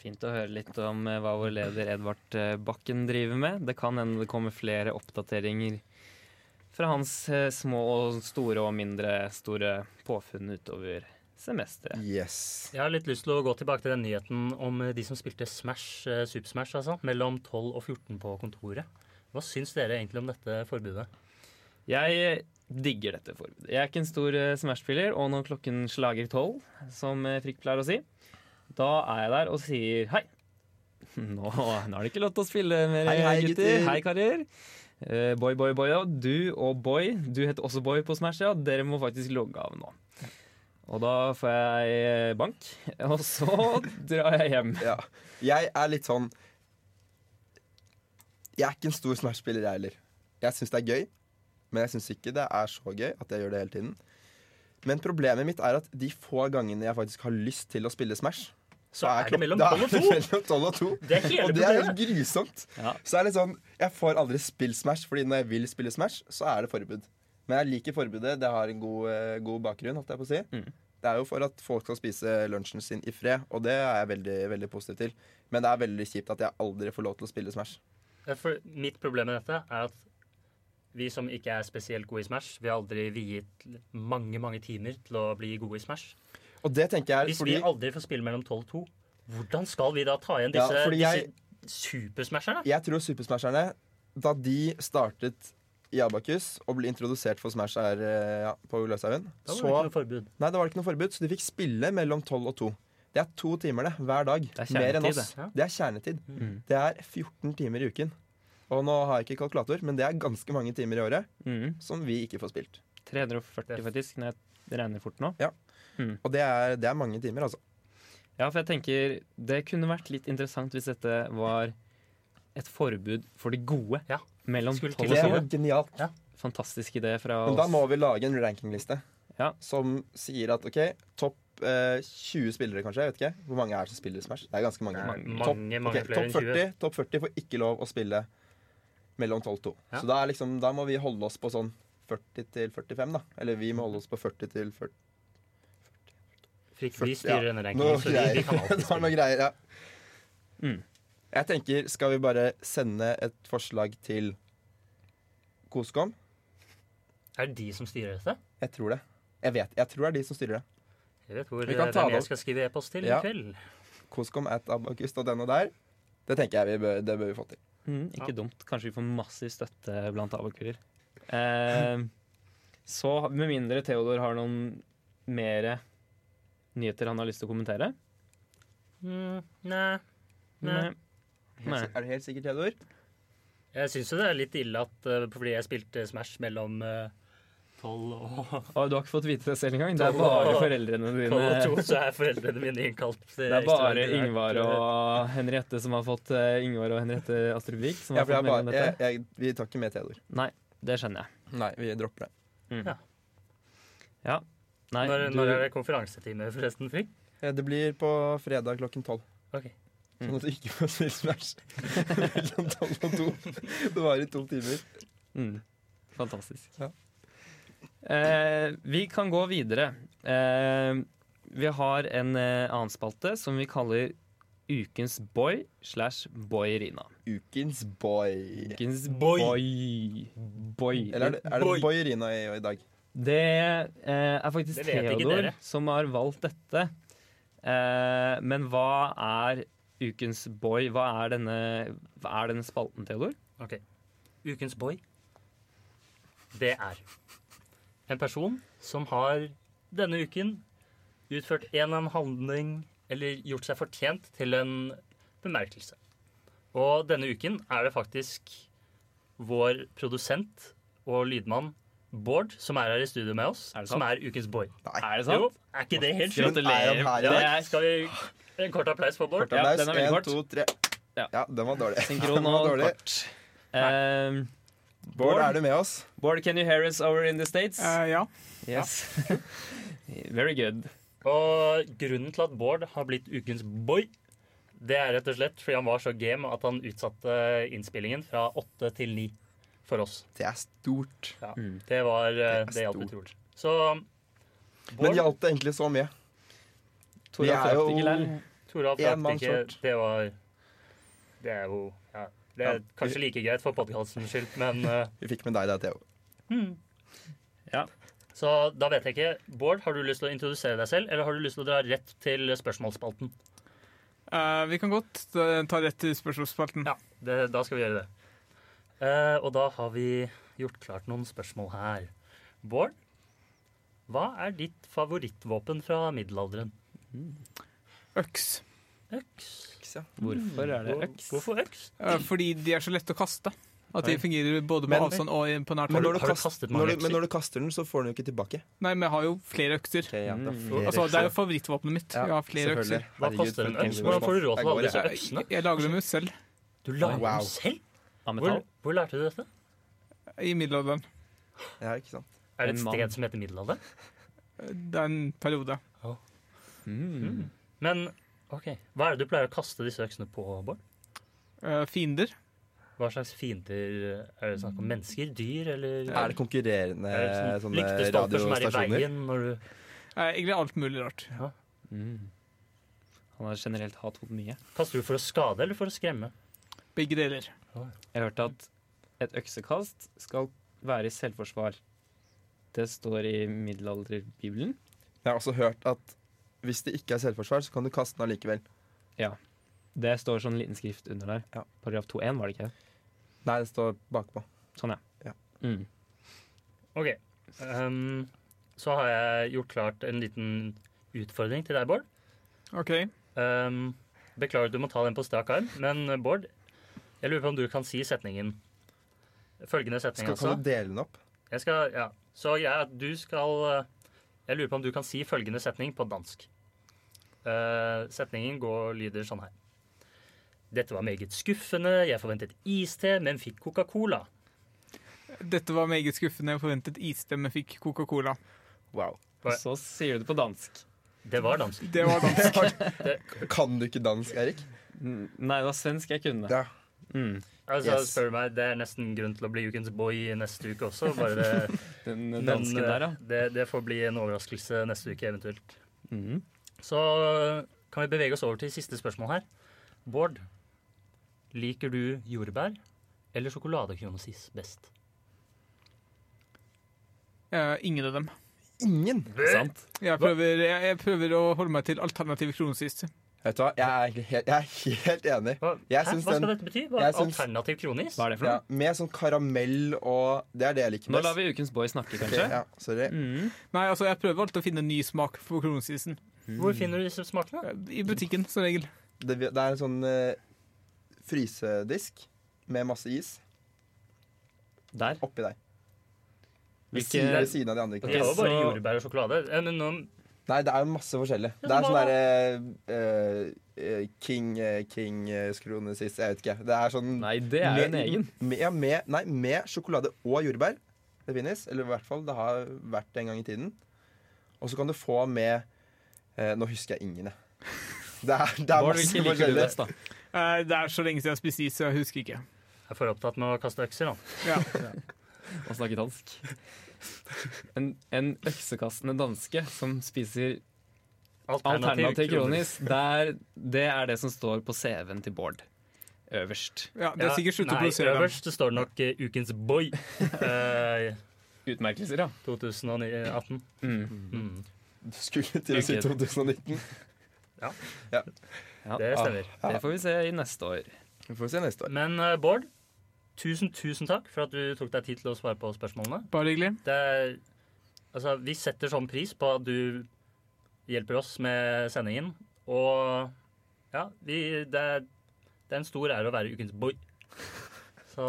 Speaker 1: Fint å høre litt om eh, hva vår leder Edvard eh, Bakken driver med. Det kan hende det kommer flere oppdateringer fra hans eh, små og store og mindre store påfunn utover semesteret.
Speaker 3: Yes.
Speaker 2: Jeg har litt lyst til å gå tilbake til den nyheten om eh, de som spilte Smash, eh, Super Smash, altså, mellom 12 og 14 på kontoret. Hva syns dere egentlig om dette forbudet?
Speaker 1: Jeg eh, digger dette forbudet. Jeg er ikke en stor eh, Smash-spiller, og når klokken slager tolv, som eh, Frikk pleier å si, da er jeg der og sier hei. Nå, nå er det ikke lov til å spille mer,
Speaker 3: Hei, hei,
Speaker 1: gutter.
Speaker 3: gutter.
Speaker 1: Hei, karer. Eh, boy, boy, boy, ja. Du og Boy. Du heter også Boy på Smash, ja. Dere må faktisk logge av nå. Og da får jeg eh, bank, og så drar jeg hjem.
Speaker 3: Ja. Jeg er litt sånn Jeg er ikke en stor Smash-spiller, jeg heller. Jeg syns det er gøy, men jeg syns ikke det er så gøy at jeg gjør det hele tiden. Men problemet mitt er at de få gangene jeg faktisk har lyst til å spille Smash,
Speaker 2: Så er det
Speaker 3: klok-
Speaker 2: mellom
Speaker 3: da er
Speaker 2: 12 og 2!
Speaker 3: det mellom 12 og 2.
Speaker 2: Det er hele
Speaker 3: Og det er
Speaker 2: problemet!
Speaker 3: helt grusomt.
Speaker 1: Ja.
Speaker 3: Så er det sånn, jeg får aldri spilt Smash, Fordi når jeg vil spille Smash, så er det forbud. Men jeg liker forbudet. Det har en god, eh, god bakgrunn. Holdt jeg på å si.
Speaker 1: Mm.
Speaker 3: Det er jo for at folk skal spise lunsjen sin i fred, og det er jeg veldig, veldig positiv til. Men det er veldig kjipt at jeg aldri får lov til å spille Smash.
Speaker 2: Ja, For mitt problem med dette er at vi som ikke er spesielt gode i Smash, vi har aldri viet mange mange timer til å bli gode i Smash.
Speaker 3: Og det tenker jeg
Speaker 2: Hvis
Speaker 3: fordi
Speaker 2: vi aldri får spille mellom 12 og 2, hvordan skal vi da ta igjen
Speaker 3: Ja,
Speaker 2: disse,
Speaker 3: fordi jeg-
Speaker 2: disse supersmasherne?
Speaker 3: jeg tror Supersmasherne, da de startet i Abakus og ble introdusert for Smash her eh, ja, på Løshaugen,
Speaker 2: Da var det
Speaker 3: så
Speaker 2: ikke noe forbud.
Speaker 3: Nei, da var det ikke noe forbud, så de fikk spille mellom 12 og 2. Det er to timer det, hver dag.
Speaker 1: Det er
Speaker 3: Mer enn
Speaker 1: kjernetid,
Speaker 3: oss.
Speaker 2: det. Ja.
Speaker 3: Det er kjernetid.
Speaker 1: Mm.
Speaker 3: Det er 14 timer i uken. Og nå har jeg ikke kalkulator, men det er ganske mange timer i året
Speaker 1: Mm.
Speaker 3: som vi ikke får spilt.
Speaker 1: 340, faktisk, når jeg regner fort nå.
Speaker 3: Og det er, det er mange timer, altså.
Speaker 1: Ja, for jeg tenker det kunne vært litt interessant hvis dette var et forbud for de gode
Speaker 2: Ja.
Speaker 1: mellom
Speaker 2: Skulle
Speaker 1: 12
Speaker 2: til
Speaker 1: og
Speaker 3: Det
Speaker 2: å si
Speaker 1: 20.
Speaker 3: var genialt.
Speaker 1: Fantastisk idé fra
Speaker 3: Men da
Speaker 1: oss.
Speaker 3: må vi lage en rankingliste
Speaker 1: Ja.
Speaker 3: som sier at OK, topp eh, 20 spillere, kanskje. Jeg vet ikke. Hvor mange er det som spiller Smash? Det er ganske mange.
Speaker 2: Mange,
Speaker 3: Topp-
Speaker 2: mange,
Speaker 3: ok,
Speaker 2: flere enn
Speaker 3: topp
Speaker 2: 20.
Speaker 3: 40, topp 40 får ikke lov å spille mellom 12 og 2.
Speaker 2: Ja.
Speaker 3: Så da, er liksom, da må vi holde oss på sånn 40 til 45, da. Eller vi må holde oss på 40 til 40.
Speaker 2: Fikk,
Speaker 3: 40,
Speaker 2: vi styrer
Speaker 3: ja.
Speaker 2: denne
Speaker 3: Noe
Speaker 2: rankingen, så de,
Speaker 3: greier.
Speaker 2: de kan alltid
Speaker 3: Det var
Speaker 2: spille.
Speaker 3: noen greier, ja.
Speaker 1: Mm.
Speaker 3: Jeg tenker, skal vi bare sende et forslag til Koskom?
Speaker 2: Er det de som styrer dette?
Speaker 3: Jeg tror det. Jeg vet, jeg tror det er de som styrer det.
Speaker 2: Jeg vet hvor
Speaker 3: Vi kan
Speaker 2: eh,
Speaker 3: ta
Speaker 2: hvem
Speaker 3: det
Speaker 2: jeg
Speaker 3: opp.
Speaker 2: skal skrive e-post til
Speaker 3: Ja.
Speaker 2: i kveld.
Speaker 3: Koskom at abakus.no der. Det tenker jeg vi bør, det bør vi få til.
Speaker 1: Mm, ikke
Speaker 2: Ja.
Speaker 1: dumt. Kanskje vi får massiv støtte blant avakurer. Eh, så med mindre Theodor har noen mere nyheter han har lyst til å kommentere
Speaker 2: Mm, nei. Nei.
Speaker 1: eh, Nei.
Speaker 3: Er du helt sikker, Theodor?
Speaker 2: Jeg syns jo det er litt ille at eh, fordi jeg spilte Smash mellom eh, 12 og
Speaker 1: Og du har ikke fått vite det selv engang? Det er bare foreldrene
Speaker 2: På
Speaker 1: dine.
Speaker 2: to så er foreldrene mine innkalt. eh, til
Speaker 1: Det er
Speaker 2: ekstra
Speaker 1: bare
Speaker 2: ordinært,
Speaker 1: Yngvar og Henriette som har fått eh, Yngvar og Henriette Astrubvik som
Speaker 3: Ja,
Speaker 1: har
Speaker 3: for
Speaker 1: fått
Speaker 3: jeg er
Speaker 1: melding om
Speaker 3: bare, jeg,
Speaker 1: dette.
Speaker 3: jeg, vi tar ikke med Theodor.
Speaker 1: Nei, det skjønner jeg.
Speaker 3: Nei, vi dropper det.
Speaker 1: Mhm. Ja. Nei,
Speaker 2: Når,
Speaker 1: du,
Speaker 2: når er det konferansetime, forresten, Frikk?
Speaker 3: Eh, Det blir på fredag klokken tolv.
Speaker 2: Ok.
Speaker 3: Sånn at du ikke får spille Smash mellom tolv og to. Det varer i to timer.
Speaker 1: Mm. Fantastisk.
Speaker 3: Ja.
Speaker 1: Eh, vi kan gå videre. Eh, vi har en eh, annen spalte som vi kaller Ukens boy slash boyrina.
Speaker 3: Ukens boy.
Speaker 1: Ukens
Speaker 2: Boy.
Speaker 1: boy. Boy.
Speaker 3: Eller er det, er
Speaker 2: Boy.
Speaker 3: det boyerina i, i dag?
Speaker 1: Det eh, er faktisk
Speaker 2: Det vet ikke
Speaker 1: Theodor
Speaker 2: dere.
Speaker 1: som har valgt dette. Eh, men hva er ukens boy? Hva er denne, hva er denne spalten, Theodor?
Speaker 2: Ok. Ukens boy, det er en person som har denne uken utført en eller annen handling eller gjort seg fortjent til en bemerkelse. Og denne uken er det faktisk vår produsent og lydmann Bård som er her i studio med oss,
Speaker 1: Er det sant?
Speaker 2: som er ukens boy.
Speaker 1: Er det
Speaker 2: Jo,
Speaker 1: sant?
Speaker 2: er ikke det helt sjukt?
Speaker 3: Gratulerer.
Speaker 1: Gratulerer.
Speaker 3: Ja,
Speaker 1: Det
Speaker 2: Ja,
Speaker 1: er
Speaker 2: skal vi En kort applaus for Bård?
Speaker 3: Kort
Speaker 1: Ja,
Speaker 3: applaus.
Speaker 1: den er veldig
Speaker 3: En,
Speaker 1: kort.
Speaker 3: to, tre.
Speaker 1: Ja.
Speaker 3: Ja, den var dårlig.
Speaker 1: synkron
Speaker 3: Den var
Speaker 1: og
Speaker 3: dårlig.
Speaker 1: kort. Eh,
Speaker 3: Bård, er du med oss?
Speaker 1: Bård, can you hear us over in the States?
Speaker 4: Eh, ja.
Speaker 1: yes. Very good.
Speaker 2: Og grunnen til at Bård har blitt ukens boy, det er rett og slett fordi han var så game at han utsatte innspillingen fra åtte til ni for oss.
Speaker 3: Det er stort.
Speaker 2: Ja.
Speaker 1: Mm.
Speaker 2: Det var eh,
Speaker 3: Det er
Speaker 2: Det hjalp
Speaker 3: stort.
Speaker 2: utrolig. Så
Speaker 3: Men
Speaker 2: Bård,
Speaker 3: hjalp det egentlig så mye? Vi
Speaker 1: Tora
Speaker 3: er jo
Speaker 1: Fraftig Lell.
Speaker 2: Toralf
Speaker 3: en mann
Speaker 2: Ratnik,
Speaker 3: short.
Speaker 2: det var Det er jo ja, Det er
Speaker 3: Ja.
Speaker 2: kanskje like greit for podkastens skyld, men eh,
Speaker 3: Vi fikk med deg det, Theo.
Speaker 1: Ja.
Speaker 2: Så da vet jeg ikke. Bård, har du lyst til å introdusere deg selv, eller har du lyst til å dra rett til spørsmålsspalten?
Speaker 4: Eh, vi kan godt eh, ta rett til spørsmålsspalten.
Speaker 2: Ja, det, da skal vi gjøre det. Eh, og da har vi gjort klart noen spørsmål her. Bård, hva er ditt favorittvåpen fra middelalderen?
Speaker 4: Øks.
Speaker 2: Øks.
Speaker 1: Hvorfor er det
Speaker 2: Hvor-
Speaker 1: øks?
Speaker 2: Hvorfor øks?
Speaker 4: Eh, fordi de er så lette å kaste. At de
Speaker 1: Oi.
Speaker 4: fungerer både på
Speaker 3: Men-
Speaker 4: avstand og i- på nært
Speaker 3: Men
Speaker 2: du-
Speaker 4: hold.
Speaker 3: når du,
Speaker 2: har du
Speaker 3: kast-
Speaker 2: kastet mange
Speaker 3: når du,
Speaker 2: økser?
Speaker 3: men når du kaster den, så får den jo ikke tilbake.
Speaker 4: Nei, men jeg har jo flere økser.
Speaker 3: ja, det er
Speaker 1: Mm.
Speaker 3: flere
Speaker 4: Mm. Altså, det er
Speaker 3: økser.
Speaker 4: jo favorittvåpenet mitt.
Speaker 3: Ja,
Speaker 4: Jeg har flere
Speaker 3: selvfølgelig.
Speaker 4: økser. Eh,
Speaker 2: Hva
Speaker 3: Herregud,
Speaker 2: koster en
Speaker 3: for et
Speaker 2: øks? Hvordan får du råd til alle
Speaker 3: Jeg
Speaker 2: disse
Speaker 3: går-
Speaker 2: øksene?
Speaker 4: Jeg lager dem jo selv
Speaker 2: Du lager
Speaker 3: Wow.
Speaker 2: dem selv?
Speaker 1: Av metall?
Speaker 2: Hvor, hvor lærte du dette?
Speaker 4: i middelalderen.
Speaker 3: Ja, ikke sant?
Speaker 2: Er det
Speaker 1: En
Speaker 2: et
Speaker 1: mann.
Speaker 2: sted som heter middelalderen?
Speaker 4: Det er en periode.
Speaker 1: Mm.
Speaker 2: Men ok, hva er det du pleier å kaste disse øksene på, Bård?
Speaker 4: Eh, fiender.
Speaker 2: Hva slags fiender eh, er det snakk om? Mennesker? Dyr? Eller
Speaker 3: Er det konkurrerende
Speaker 2: er det sånn
Speaker 3: sånne
Speaker 2: lyktestolper som er i
Speaker 3: radiostasjoner?
Speaker 2: veien når du
Speaker 4: Eh, egentlig alt mulig rart.
Speaker 1: Mm. Han har generelt hat mot mye.
Speaker 2: Kaster du for å skade eller for å skremme?
Speaker 4: Begge deler.
Speaker 1: Jeg hørte at et øksekast skal være i selvforsvar. Det står i middelalderbibelen.
Speaker 3: Jeg har også hørt at hvis det ikke er selvforsvar, så kan du kaste den allikevel.
Speaker 1: Det står sånn liten skrift under der.
Speaker 3: Ja.
Speaker 1: Paragraf 2.1, var det ikke?
Speaker 3: Nei, det står bakpå.
Speaker 1: Sånn, ja.
Speaker 3: Ja.
Speaker 1: Mm.
Speaker 2: Ok. ehm, så har jeg gjort klart en liten utfordring til deg, Bård.
Speaker 4: OK.
Speaker 2: Ehm, beklager at du må ta den på strak arm, men eh, Bård, jeg lurer på om du kan si setningen. Følgende setning,
Speaker 3: Skal, kan
Speaker 2: altså.
Speaker 3: du dele den opp?
Speaker 2: Jeg skal, ja. Så jeg, at du skal eh, Jeg lurer på om du kan si følgende setning på dansk. Eh, setningen går, lyder sånn her. Dette var meget skuffende. Jeg forventet iste, men fikk Coca-Cola.
Speaker 4: Dette var meget skuffende. Jeg forventet iste, men fikk Coca-Cola.
Speaker 3: Wow.
Speaker 1: Så sier du det på dansk.
Speaker 2: Det var dansk.
Speaker 4: Det var da.
Speaker 3: Kan du ikke dansk, Erik?
Speaker 1: N- Nei, det var svensk jeg kunne.
Speaker 3: Ja.
Speaker 1: Mm.
Speaker 2: Altså,
Speaker 3: Yes.
Speaker 2: spør du meg, Det er nesten grunn til å bli ukens boy neste uke også. Bare det,
Speaker 1: Den
Speaker 2: men,
Speaker 1: dansken
Speaker 2: eh,
Speaker 1: der, ja.
Speaker 2: det, det får bli en overraskelse neste uke eventuelt.
Speaker 1: Mhm.
Speaker 2: Så kan vi bevege oss over til siste spørsmål her. Bård, liker du jordbær eller sjokoladekronosis best?
Speaker 4: Eh, ingen av dem.
Speaker 3: Ingen.
Speaker 1: Sant?
Speaker 4: Jeg prøver, jeg, jeg prøver å holde meg til alternative kronesiste.
Speaker 3: Vet du hva, jeg er, egentlig helt, jeg er helt enig.
Speaker 2: Hva,
Speaker 3: Jeg
Speaker 2: hæ?
Speaker 3: syns
Speaker 2: Hva
Speaker 3: den-
Speaker 2: skal dette bety? Hva,
Speaker 3: jeg syns-
Speaker 2: alternativ kronis?
Speaker 1: Hva er det for
Speaker 3: Ja,
Speaker 1: noe?
Speaker 3: med sånn karamell og Det er det jeg liker
Speaker 1: Nå lar
Speaker 3: best.
Speaker 1: vi Ukens Boy snakke,
Speaker 3: Ok,
Speaker 1: kanskje.
Speaker 3: ja, sorry.
Speaker 1: Mm.
Speaker 4: Nei, altså, jeg prøver alltid å finne en ny smak for kronesisen.
Speaker 2: Hvor finner du disse smakene?
Speaker 4: Eh, I butikken, som regel.
Speaker 3: Det, det er en sånn eh, frysedisk med masse is
Speaker 1: Der.
Speaker 3: oppi der. Ved
Speaker 1: Hvilke,
Speaker 3: siden, ved siden av de andre.
Speaker 1: Ok,
Speaker 2: Det
Speaker 3: Okay.
Speaker 2: var jo bare
Speaker 1: så-
Speaker 2: jordbær og sjokolade. Eh, Men nå,
Speaker 3: Nei, det er jo masse forskjellig.
Speaker 2: Ja,
Speaker 3: Det er sånn
Speaker 2: hva-
Speaker 3: derre eh, eh, King uh, King eh, skrone sist, jeg vet ikke. Det er sånn
Speaker 1: nei, det er jo en
Speaker 3: med-
Speaker 1: egen.
Speaker 3: Med, ja, med, nei, med sjokolade og jordbær. Det finnes. Eller i hvert fall, det har vært det en gang i tiden. Og så kan du få med eh, Nå husker jeg ingen, jeg. Det er, det er
Speaker 1: Bård,
Speaker 3: masse
Speaker 1: hvilke liker du
Speaker 3: forskjellig.
Speaker 1: best, da?
Speaker 4: Eh, det er så lenge siden jeg har spist is, så jeg husker ikke.
Speaker 2: jeg er for opptatt med å kaste økser. da.
Speaker 4: Ja.
Speaker 1: Og snakke dansk. En, en øksekastende danske som spiser alternativ kronis, der, det er det som står på CV-en til Bård. Øverst.
Speaker 4: Ja, det er sikkert slutt å
Speaker 2: nei,
Speaker 4: produsere dem.
Speaker 2: Øverst så står det nok eh, Ukens boy eh,
Speaker 1: Utmerkelser, ja.
Speaker 2: 2018.
Speaker 1: Mm.
Speaker 2: Mm.
Speaker 3: Du skulle til å si
Speaker 1: Ikke-
Speaker 3: 2019.
Speaker 1: ja.
Speaker 2: Det stemmer.
Speaker 1: Det får vi se i neste år.
Speaker 3: Vi får se neste år.
Speaker 2: Men eh, Bård, tusen, tusen takk for at du tok deg tid til å svare på spørsmålene.
Speaker 4: Bare hyggelig.
Speaker 2: Det er, altså, vi setter sånn pris på at du hjelper oss med sendingen. Og ja, vi, det, er, det er en stor ære å være ukens boy. Så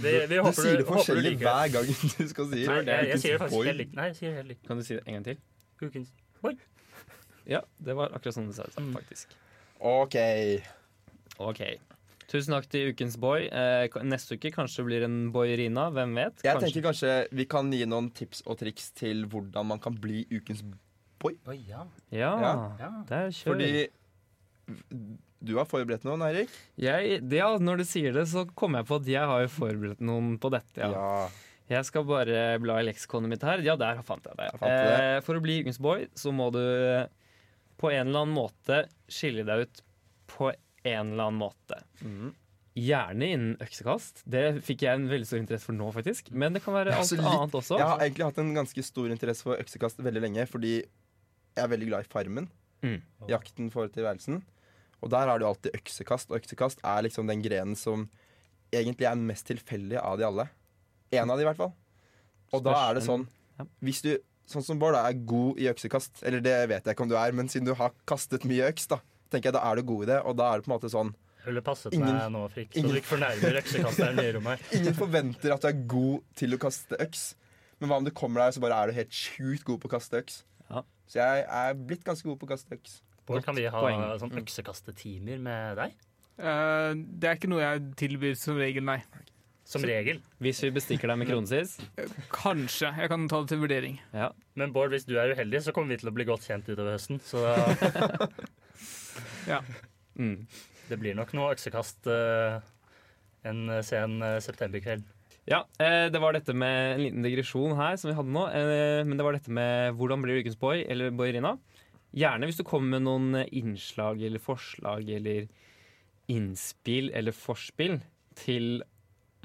Speaker 2: vi, vi
Speaker 3: Du
Speaker 2: håper
Speaker 3: sier det
Speaker 2: håper du
Speaker 3: forskjellig
Speaker 2: liker
Speaker 3: hver gang du skal si
Speaker 2: Nei,
Speaker 3: det.
Speaker 2: jeg, jeg
Speaker 3: Ukens
Speaker 2: sier det
Speaker 3: boy.
Speaker 2: faktisk helt likt. Nei, jeg sier det helt likt.
Speaker 1: Kan du si det en gang til?
Speaker 2: Ukens
Speaker 1: Ja, det var akkurat sånn du sa det, faktisk.
Speaker 3: OK.
Speaker 1: Ok. Tusen takk til ukens boy. Eh, ka- neste uke kanskje blir en boyrina, hvem vet?
Speaker 3: Jeg
Speaker 1: Kanskje-
Speaker 3: tenker kanskje vi kan gi noen tips og triks til hvordan man kan bli ukens
Speaker 2: Oi, ja.
Speaker 1: Ja,
Speaker 3: Ja.
Speaker 2: ja.
Speaker 1: der kjør.
Speaker 3: Fordi du har forberedt noen, Eirik.
Speaker 1: Jeg, det, ja, når du sier det, så kommer jeg på at jeg har jo forberedt noen på dette. Ja. Jeg skal bare bla i leksikonet mitt her. Ja, der fant jeg det.
Speaker 3: Der fant du det.
Speaker 1: Eh, for å bli ukens boy, så må du eh, på en eller annen måte skille deg ut på en eller annen måte.
Speaker 3: Mhm.
Speaker 1: Gjerne innen øksekast. Det fikk jeg en veldig stor interesse for nå, faktisk. Men det kan være
Speaker 3: Ja,
Speaker 1: alt
Speaker 3: så litt-
Speaker 1: annet også.
Speaker 3: Jeg har egentlig hatt en ganske stor interesse for øksekast veldig lenge, fordi jeg er veldig glad i Farmen.
Speaker 1: Mm.
Speaker 3: Jakten for tilværelsen. Og der er det jo alltid øksekast, og øksekast er liksom den grenen som egentlig er den mest tilfeldige av de alle. En av de, i hvert fall. Og da
Speaker 1: Størst-
Speaker 3: er det sånn
Speaker 1: Ja.
Speaker 3: Hvis du, sånn som Bård, da, er god i øksekast, eller det vet jeg ikke om du er, men siden du har kastet mye øks, da, tenker jeg da er du god i det, og da er det på en måte sånn
Speaker 2: Jeg ville passet
Speaker 3: Ingen-
Speaker 2: meg nå, Frikk, så
Speaker 3: ingen-
Speaker 2: du ikke fornærmer øksekasteren i rommet her.
Speaker 3: Ingen forventer at du er god til å kaste øks. Men hva om du kommer deg, så bare er du helt sjukt god på å kaste øks.
Speaker 1: Ja.
Speaker 3: Så jeg er blitt ganske god på å kaste øks.
Speaker 2: Bård, kan vi ha
Speaker 1: poeng.
Speaker 2: sånn
Speaker 3: Mm.
Speaker 2: øksekastetimer med deg?
Speaker 4: Eh, det er ikke noe jeg tilbyr som regel, nei.
Speaker 2: Som regel.
Speaker 1: Hvis vi bestikker deg med kronesis.
Speaker 4: Kanskje. Jeg kan ta det til vurdering.
Speaker 1: Ja.
Speaker 2: Men Bård, hvis du er uheldig, så kommer vi til å bli godt kjent utover høsten. Så da-
Speaker 1: Mm.
Speaker 2: det blir nok noe øksekast eh, en sen eh, septemberkveld.
Speaker 1: Ja, eh, det var dette med en liten digresjon her som vi hadde nå. Eh, men det var dette med hvordan blir du ukens boy eller boyrina. Gjerne hvis du kommer med noen eh, innslag eller forslag eller innspill eller forspill til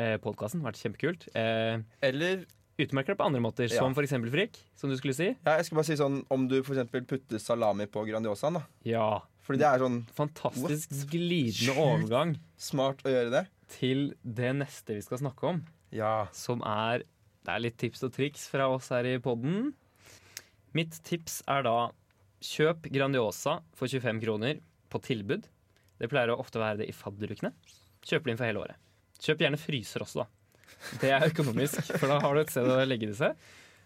Speaker 1: eh, podkasten. Vært kjempekult. Eh,
Speaker 3: Eller
Speaker 1: Utmerk deg på andre måter,
Speaker 3: Ja.
Speaker 1: som for eksempel frik, som du skulle si.
Speaker 3: ja, jeg skulle bare si sånn om du for eksempel putter salami på Grandiosaen, da.
Speaker 1: Ja.
Speaker 3: Fordi det er sånn
Speaker 1: Fantastisk glidende
Speaker 3: Sjukt.
Speaker 1: overgang
Speaker 3: smart å gjøre det.
Speaker 1: til det neste vi skal snakke om.
Speaker 3: Ja.
Speaker 1: som er Det er litt tips og triks fra oss her i podden. Mitt tips er da kjøp Grandiosa for 25 kroner på tilbud. Det pleier å ofte være det i fadderukene. Kjøp det inn for hele året. Kjøp gjerne fryser også, da. Det er økonomisk, for da har du et sted å legge disse.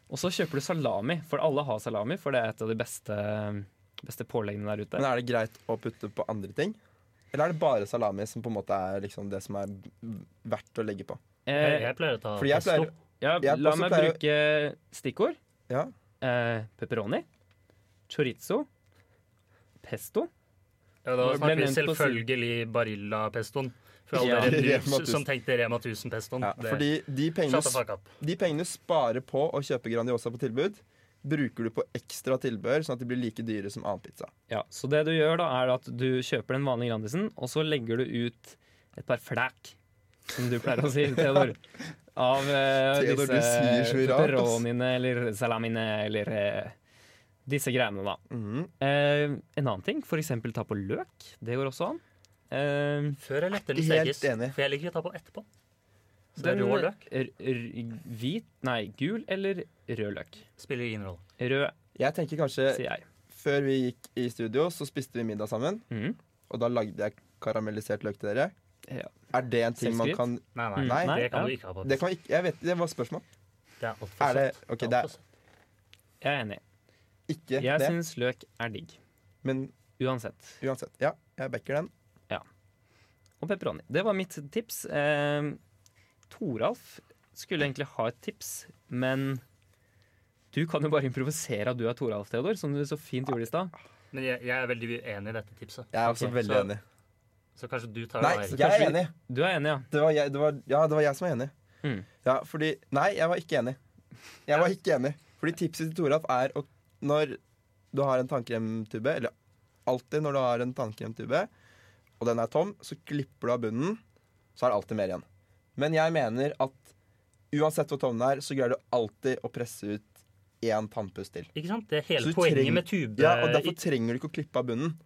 Speaker 1: Og så kjøper du salami, for alle har salami, for det er et av de beste, beste påleggene der ute.
Speaker 3: Men er det greit å putte på andre ting? Eller er det bare salami som på en måte er liksom det som er verdt å legge på?
Speaker 2: Jeg,
Speaker 1: Eh,
Speaker 2: jeg pleier å ta
Speaker 3: Fordi jeg
Speaker 2: pesto.
Speaker 3: pleier-
Speaker 1: ja,
Speaker 3: jeg
Speaker 1: la
Speaker 3: også
Speaker 1: meg
Speaker 3: pleier å-
Speaker 1: bruke stikkord.
Speaker 3: Ja.
Speaker 1: Eh, pepperoni. Chorizo. Pesto.
Speaker 2: Ja, da
Speaker 1: Det ble
Speaker 2: snakker vi
Speaker 1: nevnt på siden.
Speaker 2: selvfølgelig Barilla-pestoen. For
Speaker 1: Ja.
Speaker 2: alle dere
Speaker 3: Rema 1000.
Speaker 2: nu- som tenkte Rema 1000-pestoen.
Speaker 3: Ja, fordi de pengene,
Speaker 2: Shut the fuck up.
Speaker 3: de pengene du sparer på å kjøpe Grandiosa på tilbud, bruker du på ekstra tilbehør, sånn at de blir like dyre som annen pizza.
Speaker 1: Ja, så det du gjør da er at du kjøper den vanlige Grandisen, og så legger du ut et par flæk, som du pleier å si, Theodor. Av eh,
Speaker 3: Theodor, du sier
Speaker 1: disse
Speaker 3: så mye rart, ass.
Speaker 1: pepperoniene eller salamine eller eh, disse greiene, da.
Speaker 3: Mhm.
Speaker 1: Eh, en annen ting, f.eks. ta på løk. Det går også an. Eh,
Speaker 2: Før eller etter den
Speaker 3: Helt
Speaker 2: stekes.
Speaker 3: enig.
Speaker 2: For jeg liker å ta på etterpå. Så det er rå løk
Speaker 1: r- r- Hvit, nei, gul eller rød løk?
Speaker 2: spiller ingen rolle.
Speaker 1: Rød,
Speaker 3: Jeg tenker kanskje
Speaker 1: sier jeg.
Speaker 3: Før vi gikk i studio, så spiste vi middag sammen,
Speaker 1: Mm.
Speaker 3: og da lagde jeg karamellisert løk til dere.
Speaker 1: Ja.
Speaker 3: Er det en ting man
Speaker 1: Selvskryt?
Speaker 3: kan
Speaker 2: Nei,
Speaker 1: Mm,
Speaker 2: nei,
Speaker 1: nei,
Speaker 2: det kan
Speaker 1: ja.
Speaker 2: du ikke ha på.
Speaker 3: Det kan vi ikke Jeg vet Det var spørsmål.
Speaker 2: Det er altfor
Speaker 3: Er det
Speaker 2: søtt.
Speaker 3: OK,
Speaker 2: Det
Speaker 3: det
Speaker 2: er
Speaker 3: er
Speaker 2: altfor søtt.
Speaker 1: Jeg er enig.
Speaker 3: ikke
Speaker 1: Jeg
Speaker 3: det,
Speaker 1: syns løk er digg.
Speaker 3: men
Speaker 1: Uansett.
Speaker 3: uansett. Ja, jeg backer den.
Speaker 1: og pepperoni. Det var mitt tips. Eh, Toralf skulle egentlig ha et tips, men du kan jo bare improvisere at du er Toralf, Theodor, som du så fint gjorde i stad.
Speaker 2: Men jeg, jeg er veldig uenig i dette tipset.
Speaker 3: Jeg er også
Speaker 1: Ok,
Speaker 3: veldig
Speaker 2: så-
Speaker 3: enig.
Speaker 2: Så kanskje du tar
Speaker 3: Nei,
Speaker 2: det der.
Speaker 3: jeg
Speaker 1: kanskje
Speaker 3: er
Speaker 1: vi-
Speaker 3: enig.
Speaker 1: Du er enig, ja?
Speaker 3: Det var jeg, det var, ja, det var jeg som var enig.
Speaker 1: Mm.
Speaker 3: Ja, fordi Nei, jeg var ikke enig. Jeg var ikke enig. Fordi tipset til Toralf er å Når du har en tannkremtube, eller alltid når du har en tannkremtube, og den er tom, så klipper du av bunnen, så er det alltid mer igjen. Men jeg mener at uansett hvor tom den er, så greier du alltid å presse ut én tannpust til.
Speaker 2: Ikke sant? Det er
Speaker 3: Så
Speaker 2: hele
Speaker 3: du
Speaker 2: poenget
Speaker 3: trenger-
Speaker 2: med tube.
Speaker 3: Ja, Og
Speaker 2: i-
Speaker 3: derfor trenger du ikke å klippe av bunnen.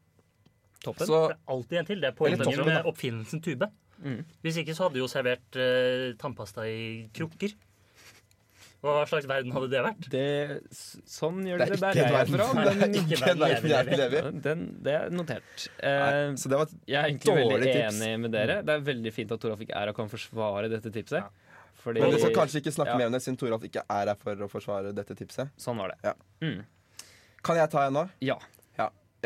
Speaker 1: Toppen.
Speaker 3: Så
Speaker 2: Det er alltid en til. Det er
Speaker 3: Eller
Speaker 2: poenget
Speaker 3: toppen,
Speaker 2: med
Speaker 3: da.
Speaker 2: oppfinnelsen tube.
Speaker 1: Mm.
Speaker 2: Hvis ikke så hadde vi jo servert eh, tannpasta i krukker. Og hva slags verden hadde det vært?
Speaker 1: Det, s- sånn gjør
Speaker 3: det
Speaker 1: dere det
Speaker 3: er
Speaker 1: der
Speaker 3: ikke en
Speaker 1: jeg er
Speaker 3: verden,
Speaker 1: fra.
Speaker 3: det er
Speaker 1: Men
Speaker 2: ikke
Speaker 3: ikke en verden jeg vil leve i.
Speaker 1: ja, den, det er notert.
Speaker 3: Nei,
Speaker 1: Eh,
Speaker 3: Så det var
Speaker 1: jeg er egentlig veldig
Speaker 3: dårlig tips.
Speaker 1: enig med dere. Det er veldig fint at Toralf ikke er her og kan forsvare dette tipset.
Speaker 2: Ja.
Speaker 1: Fordi,
Speaker 3: Men vi skal kanskje ikke snakke
Speaker 1: Ja.
Speaker 3: mer om det, siden Toralf ikke er her for å forsvare dette tipset.
Speaker 1: sånn var det.
Speaker 3: Ja.
Speaker 1: Mm.
Speaker 3: Kan jeg ta en nå?
Speaker 1: ja.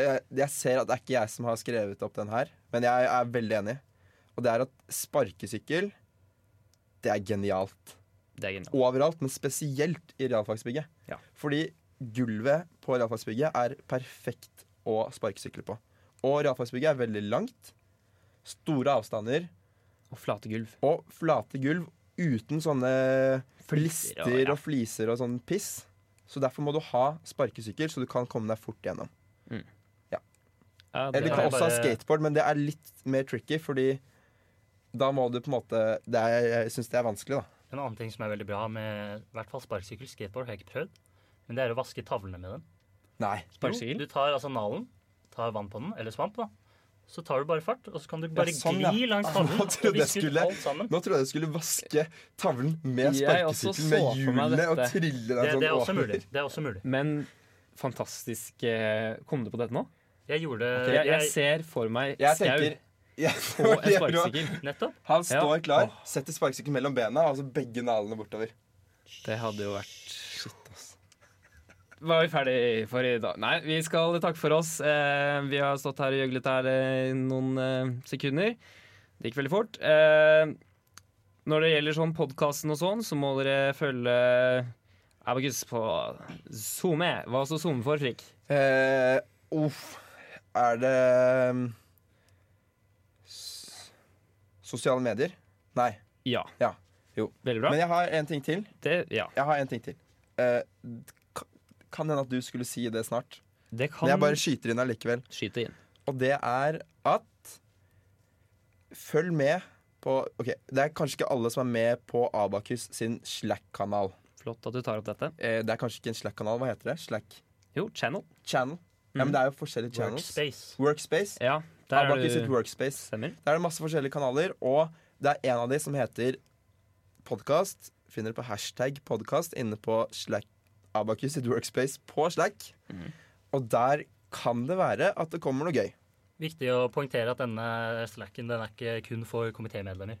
Speaker 3: Eh, Jeg ser at det er ikke jeg som har skrevet opp den her, men jeg er veldig enig. Og det er at sparkesykkel, det er genialt.
Speaker 1: Det er genialt.
Speaker 3: Overalt, men spesielt i realfagsbygget.
Speaker 1: Ja.
Speaker 3: Fordi gulvet på realfagsbygget er perfekt å sparkesykle på. Og realfagsbygget er veldig langt. Store avstander
Speaker 1: Og flate gulv.
Speaker 3: og flate gulv uten sånne
Speaker 1: Fliser og-
Speaker 3: lister
Speaker 1: ja.
Speaker 3: og fliser og sånn piss. Så derfor må du ha sparkesykkel, så du kan komme deg fort gjennom.
Speaker 1: Ja, det
Speaker 3: Eller du
Speaker 2: er
Speaker 3: kan
Speaker 1: er,
Speaker 3: også ha
Speaker 2: bare-
Speaker 3: skateboard, men det er litt mer tricky, fordi da må du på en måte det er, Jeg syns det er vanskelig, da.
Speaker 2: En annen ting som er veldig bra med i hvert fall sparkesykkel, skateboard har jeg ikke prøvd, men det er å vaske tavlene med den.
Speaker 3: Nei.
Speaker 1: Sparkesykkel?
Speaker 2: Du tar altså nalen, tar vann på den, eller svamp, da. Så tar du bare fart, og så kan du bare
Speaker 3: sånn, ja.
Speaker 2: gli langs tavlen
Speaker 3: Nå
Speaker 2: og
Speaker 3: trodde jeg
Speaker 2: viske ut
Speaker 3: skulle-
Speaker 2: alt sammen.
Speaker 3: Nå trodde jeg du skulle vaske tavlen med
Speaker 1: Jeg også
Speaker 3: sparkesykkel,
Speaker 1: så for
Speaker 3: med
Speaker 1: meg
Speaker 3: hjulene, og
Speaker 1: dette.
Speaker 3: trille
Speaker 2: Det,
Speaker 3: den sånn
Speaker 2: det er også
Speaker 3: over.
Speaker 2: mulig. Det er også mulig.
Speaker 1: Men fantastisk eh, Kom du på dette nå?
Speaker 2: Jeg gjorde
Speaker 1: Jeg, jeg
Speaker 2: jeg,
Speaker 1: ser for meg
Speaker 3: Jeg
Speaker 1: skau
Speaker 3: tenker Ja, det
Speaker 1: på
Speaker 3: var
Speaker 1: en
Speaker 3: det jeg gjorde.
Speaker 1: sparkesykkel.
Speaker 2: Nettopp.
Speaker 3: Han
Speaker 1: Ja.
Speaker 3: står klar, setter sparkesykkelen mellom bena, altså begge nalene bortover.
Speaker 1: Det hadde jo vært Shit, ass. Var vi ferdig for i dag? Nei, vi skal takke for oss. Eh, vi har stått her og gjøglet her eh, noen eh, sekunder. Det gikk veldig fort. Eh, når det gjelder sånn podkasten og sånn, så må dere følge Abakus på SoMe. Hva står SoMe for, Frik?
Speaker 3: Eh, uff. Er det um, s Sosiale medier? Nei.
Speaker 1: Ja.
Speaker 3: Ja. Jo.
Speaker 1: Veldig bra.
Speaker 3: Men jeg har en ting til.
Speaker 1: Det, ja.
Speaker 3: Jeg har en ting til. Eh, kan- kan hende at du skulle si det snart.
Speaker 1: det
Speaker 3: Men jeg
Speaker 1: kan
Speaker 3: bare skyter inn allikevel.
Speaker 1: skyte inn.
Speaker 3: Og det er at Følg med på Ok, det er kanskje ikke alle som er med på Abakus sin Slack-kanal.
Speaker 1: Flott at du tar opp dette.
Speaker 3: Eh, det er kanskje ikke en Slack-kanal. Hva heter det? Slack
Speaker 1: Jo, Channel.
Speaker 3: Channel. Ja, men det er jo forskjellige channels.
Speaker 2: Workspace.
Speaker 3: Workspace.
Speaker 1: Ja, Mm. der er
Speaker 3: Abakus sitt
Speaker 1: du
Speaker 3: workspace.
Speaker 1: Stemmer.
Speaker 3: Der er det masse forskjellige kanaler, og det er en av de som heter podkast. Finner du på hashtag podkast inne på Slack Abakus sitt workspace på Slack.
Speaker 1: Mhm.
Speaker 3: Og der kan det være at det kommer noe gøy.
Speaker 2: Viktig å poengtere at denne slacken den er ikke kun for komitémedlemmer.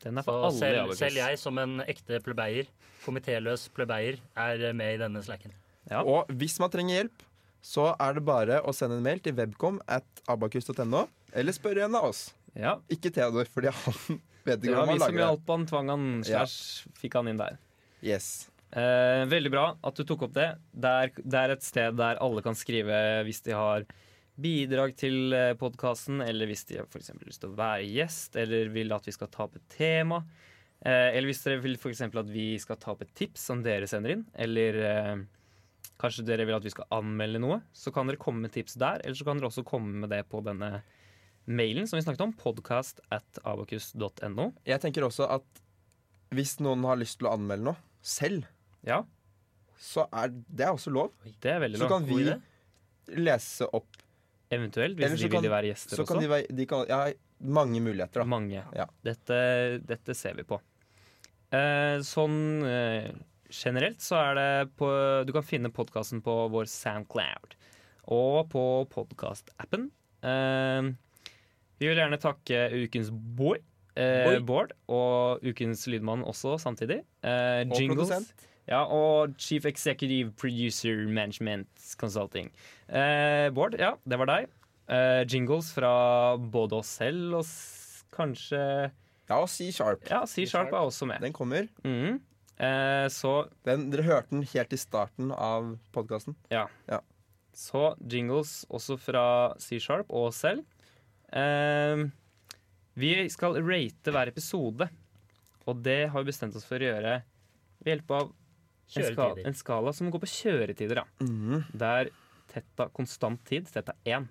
Speaker 1: Den er
Speaker 2: Så
Speaker 1: for alle i
Speaker 2: selv,
Speaker 1: Abakus.
Speaker 2: selv jeg som en ekte plebeier, komitéløs plebeier, er med i denne slacken.
Speaker 1: Ja.
Speaker 3: Og hvis man trenger hjelp, så er det bare å sende en mail til webcom at abakus.no. Eller spørre en av oss.
Speaker 1: Ja.
Speaker 3: Ikke Theodor, fordi han vet
Speaker 1: Det
Speaker 3: ikke
Speaker 1: var vi
Speaker 3: hvordan man
Speaker 1: som
Speaker 3: lager
Speaker 1: hjalp
Speaker 3: det.
Speaker 1: han, tvang han, slash fikk han inn der.
Speaker 3: Yes.
Speaker 1: Eh, veldig bra at du tok opp det. Det er, det er et sted der alle kan skrive hvis de har bidrag til podkasten, eller hvis de for eksempel har lyst til å være gjest, eller vil at vi skal ta opp et tema. Eh, eller hvis dere vil for eksempel at vi skal ta opp et tips som dere sender inn, eller eh, kanskje dere vil at vi skal anmelde noe, så kan dere komme med tips der. Eller så kan dere også komme med det på denne mailen som vi snakket om, podcast at abacus.no.
Speaker 3: Jeg tenker også at hvis noen har lyst til å anmelde noe selv,
Speaker 1: Ja,
Speaker 3: så er det er også lov.
Speaker 1: det er veldig
Speaker 3: Så
Speaker 1: bra.
Speaker 3: kan
Speaker 2: God
Speaker 3: vi
Speaker 2: idé.
Speaker 3: lese opp.
Speaker 1: Eventuelt,
Speaker 3: Eller
Speaker 1: hvis
Speaker 3: så
Speaker 1: de
Speaker 3: kan-
Speaker 1: vil være gjester
Speaker 3: Så
Speaker 1: også.
Speaker 3: kan de, være- de kan, Jeg har mange muligheter, da.
Speaker 1: Mange.
Speaker 3: Ja.
Speaker 1: Dette, dette ser vi på. Eh, sånn eh, generelt så er det på Du kan finne podkasten på vår Soundcloud og på podkastappen. Eh, vi vil gjerne takke ukens boy. Eh,
Speaker 2: Boy.
Speaker 1: Bård og ukens lydmann også samtidig. Eh,
Speaker 3: Og
Speaker 1: jingles.
Speaker 3: produsent.
Speaker 1: Ja, og Chief Executive Producer Management Consulting. Eh, Bård, ja, det var deg. Eh, jingles fra både oss selv og s kanskje
Speaker 3: Ja, og si sharp.
Speaker 1: Ja, C-Sharp er også med.
Speaker 3: Den kommer.
Speaker 1: Mhm. Eh, så,
Speaker 3: Den, dere hørte den helt i starten av podkasten.
Speaker 1: så jingles også fra C-Sharp og oss selv. Eh, vi skal rate hver episode, og det har vi bestemt oss for å gjøre ved hjelp av en skala,
Speaker 2: Kjøretider.
Speaker 1: en skala som går på kjøretider. Da. Der tetta konstant tid, tetta 1,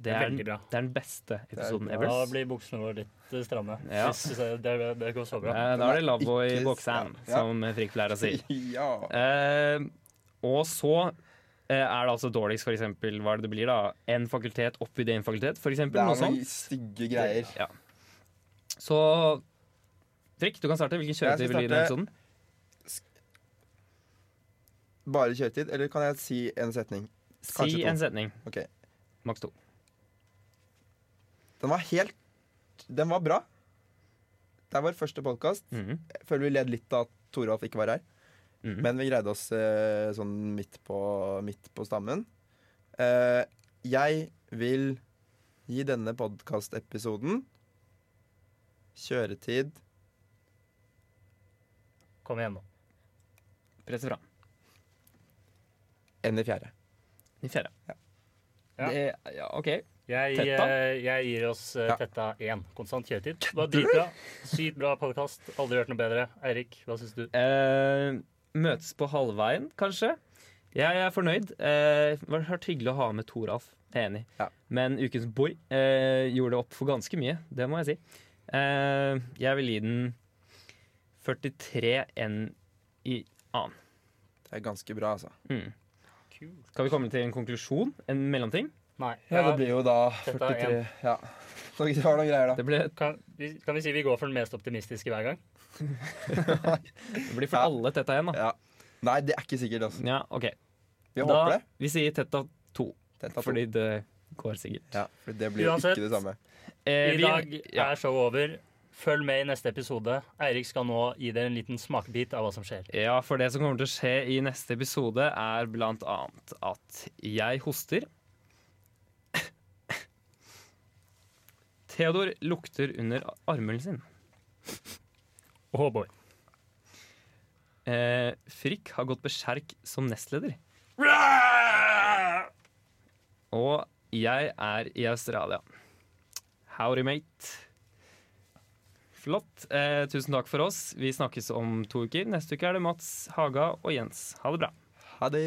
Speaker 1: det er, den,
Speaker 2: Veldig
Speaker 1: det
Speaker 2: bra.
Speaker 1: er den beste episoden
Speaker 3: bra.
Speaker 1: ever.
Speaker 2: Da blir buksene våre litt eh, stramme.
Speaker 1: Ja.
Speaker 2: Hvis du ser- Det, det går så bra.
Speaker 1: Eh, Da er det
Speaker 3: Ikke
Speaker 1: Lovboy
Speaker 3: s-
Speaker 1: Boksam,
Speaker 3: ja, ja.
Speaker 1: som Frikk pleier å si.
Speaker 3: ja.
Speaker 1: Eh, og så eh, er det altså dårligst, for eksempel, hva er det det blir da? En fakultet oppi det en fakultet, for
Speaker 3: Det
Speaker 1: eksempel.
Speaker 3: er
Speaker 1: Noe
Speaker 3: noen
Speaker 1: sånt.
Speaker 3: stygge greier.
Speaker 1: Ja. Så Frikk, du kan starte. Hvilken
Speaker 3: Jeg skal
Speaker 1: kjøretid blir det i denne
Speaker 3: starte-
Speaker 1: episoden?
Speaker 3: Bare kjøretid, eller kan jeg si en setning?
Speaker 1: Si
Speaker 3: to.
Speaker 1: en setning.
Speaker 3: Ok.
Speaker 1: Maks to.
Speaker 3: Den var helt Den var bra. Det er vår første podkast.
Speaker 1: Mhm.
Speaker 3: Jeg føler vi led litt av at Toralf ikke var her.
Speaker 1: Mhm.
Speaker 3: Men vi greide oss eh, sånn midt på, midt på stammen. Eh, jeg vil gi denne podkastepisoden kjøretid
Speaker 2: Kom igjen, nå.
Speaker 1: Press fra.
Speaker 3: enn i fjerde.
Speaker 1: I fjerde.
Speaker 2: Ja.
Speaker 1: Det, ja, OK.
Speaker 2: Jeg,
Speaker 1: Tetta?
Speaker 2: eh, jeg gir oss eh,
Speaker 3: Ja.
Speaker 2: Tetta 1. Konstant kjøretid. Det var dritbra. Sykt bra podkast. Aldri hørt noe bedre. Eirik, hva syns du?
Speaker 1: Eh, møtes på halvveien, kanskje. Jeg er fornøyd. Eh, det har vært hyggelig å ha med Toralf. Jeg er Enig.
Speaker 3: Ja.
Speaker 1: Men ukens boy eh, gjorde opp for ganske mye. Det må jeg si. Eh, jeg vil gi den 43 enn i annen.
Speaker 3: Det er ganske bra, altså.
Speaker 1: Mm. Skal vi komme til en konklusjon? En mellomting?
Speaker 2: Nei.
Speaker 3: Ja,
Speaker 2: Ja,
Speaker 3: det blir jo da
Speaker 2: Dette er
Speaker 3: 43 Ja. Så Det var noen greier, da.
Speaker 1: Det ble,
Speaker 2: kan, vi, kan vi si vi går for den mest optimistiske hver gang?
Speaker 1: det blir for
Speaker 3: Ja.
Speaker 1: alle tetta igjen, da.
Speaker 3: Ja. Nei, det er ikke sikkert. Altså.
Speaker 1: Ja, ok. da,
Speaker 3: Vi håper det.
Speaker 1: Vi sier tetta to,
Speaker 3: Tenta to.
Speaker 1: fordi det går sikkert.
Speaker 3: ja, for det blir
Speaker 2: Uansett.
Speaker 3: ikke det samme.
Speaker 1: Eh,
Speaker 2: I
Speaker 1: vi-
Speaker 2: dag
Speaker 1: ja.
Speaker 2: er showet over. Følg med i neste episode. Eirik skal nå gi dere en liten smakebit av hva som skjer.
Speaker 1: Ja, for det som kommer til å skje i neste episode, er blant annet at jeg hoster. Theodor lukter under armhulen sin.
Speaker 2: Oh boy.
Speaker 1: Eh, Frikk har gått berserk som nestleder. Og jeg er i Australia. Howdy, mate. Flott. Eh, tusen takk for oss. Vi snakkes om to uker. Neste uke er det Mats, Haga og Jens. Ha det bra.
Speaker 3: Ha det.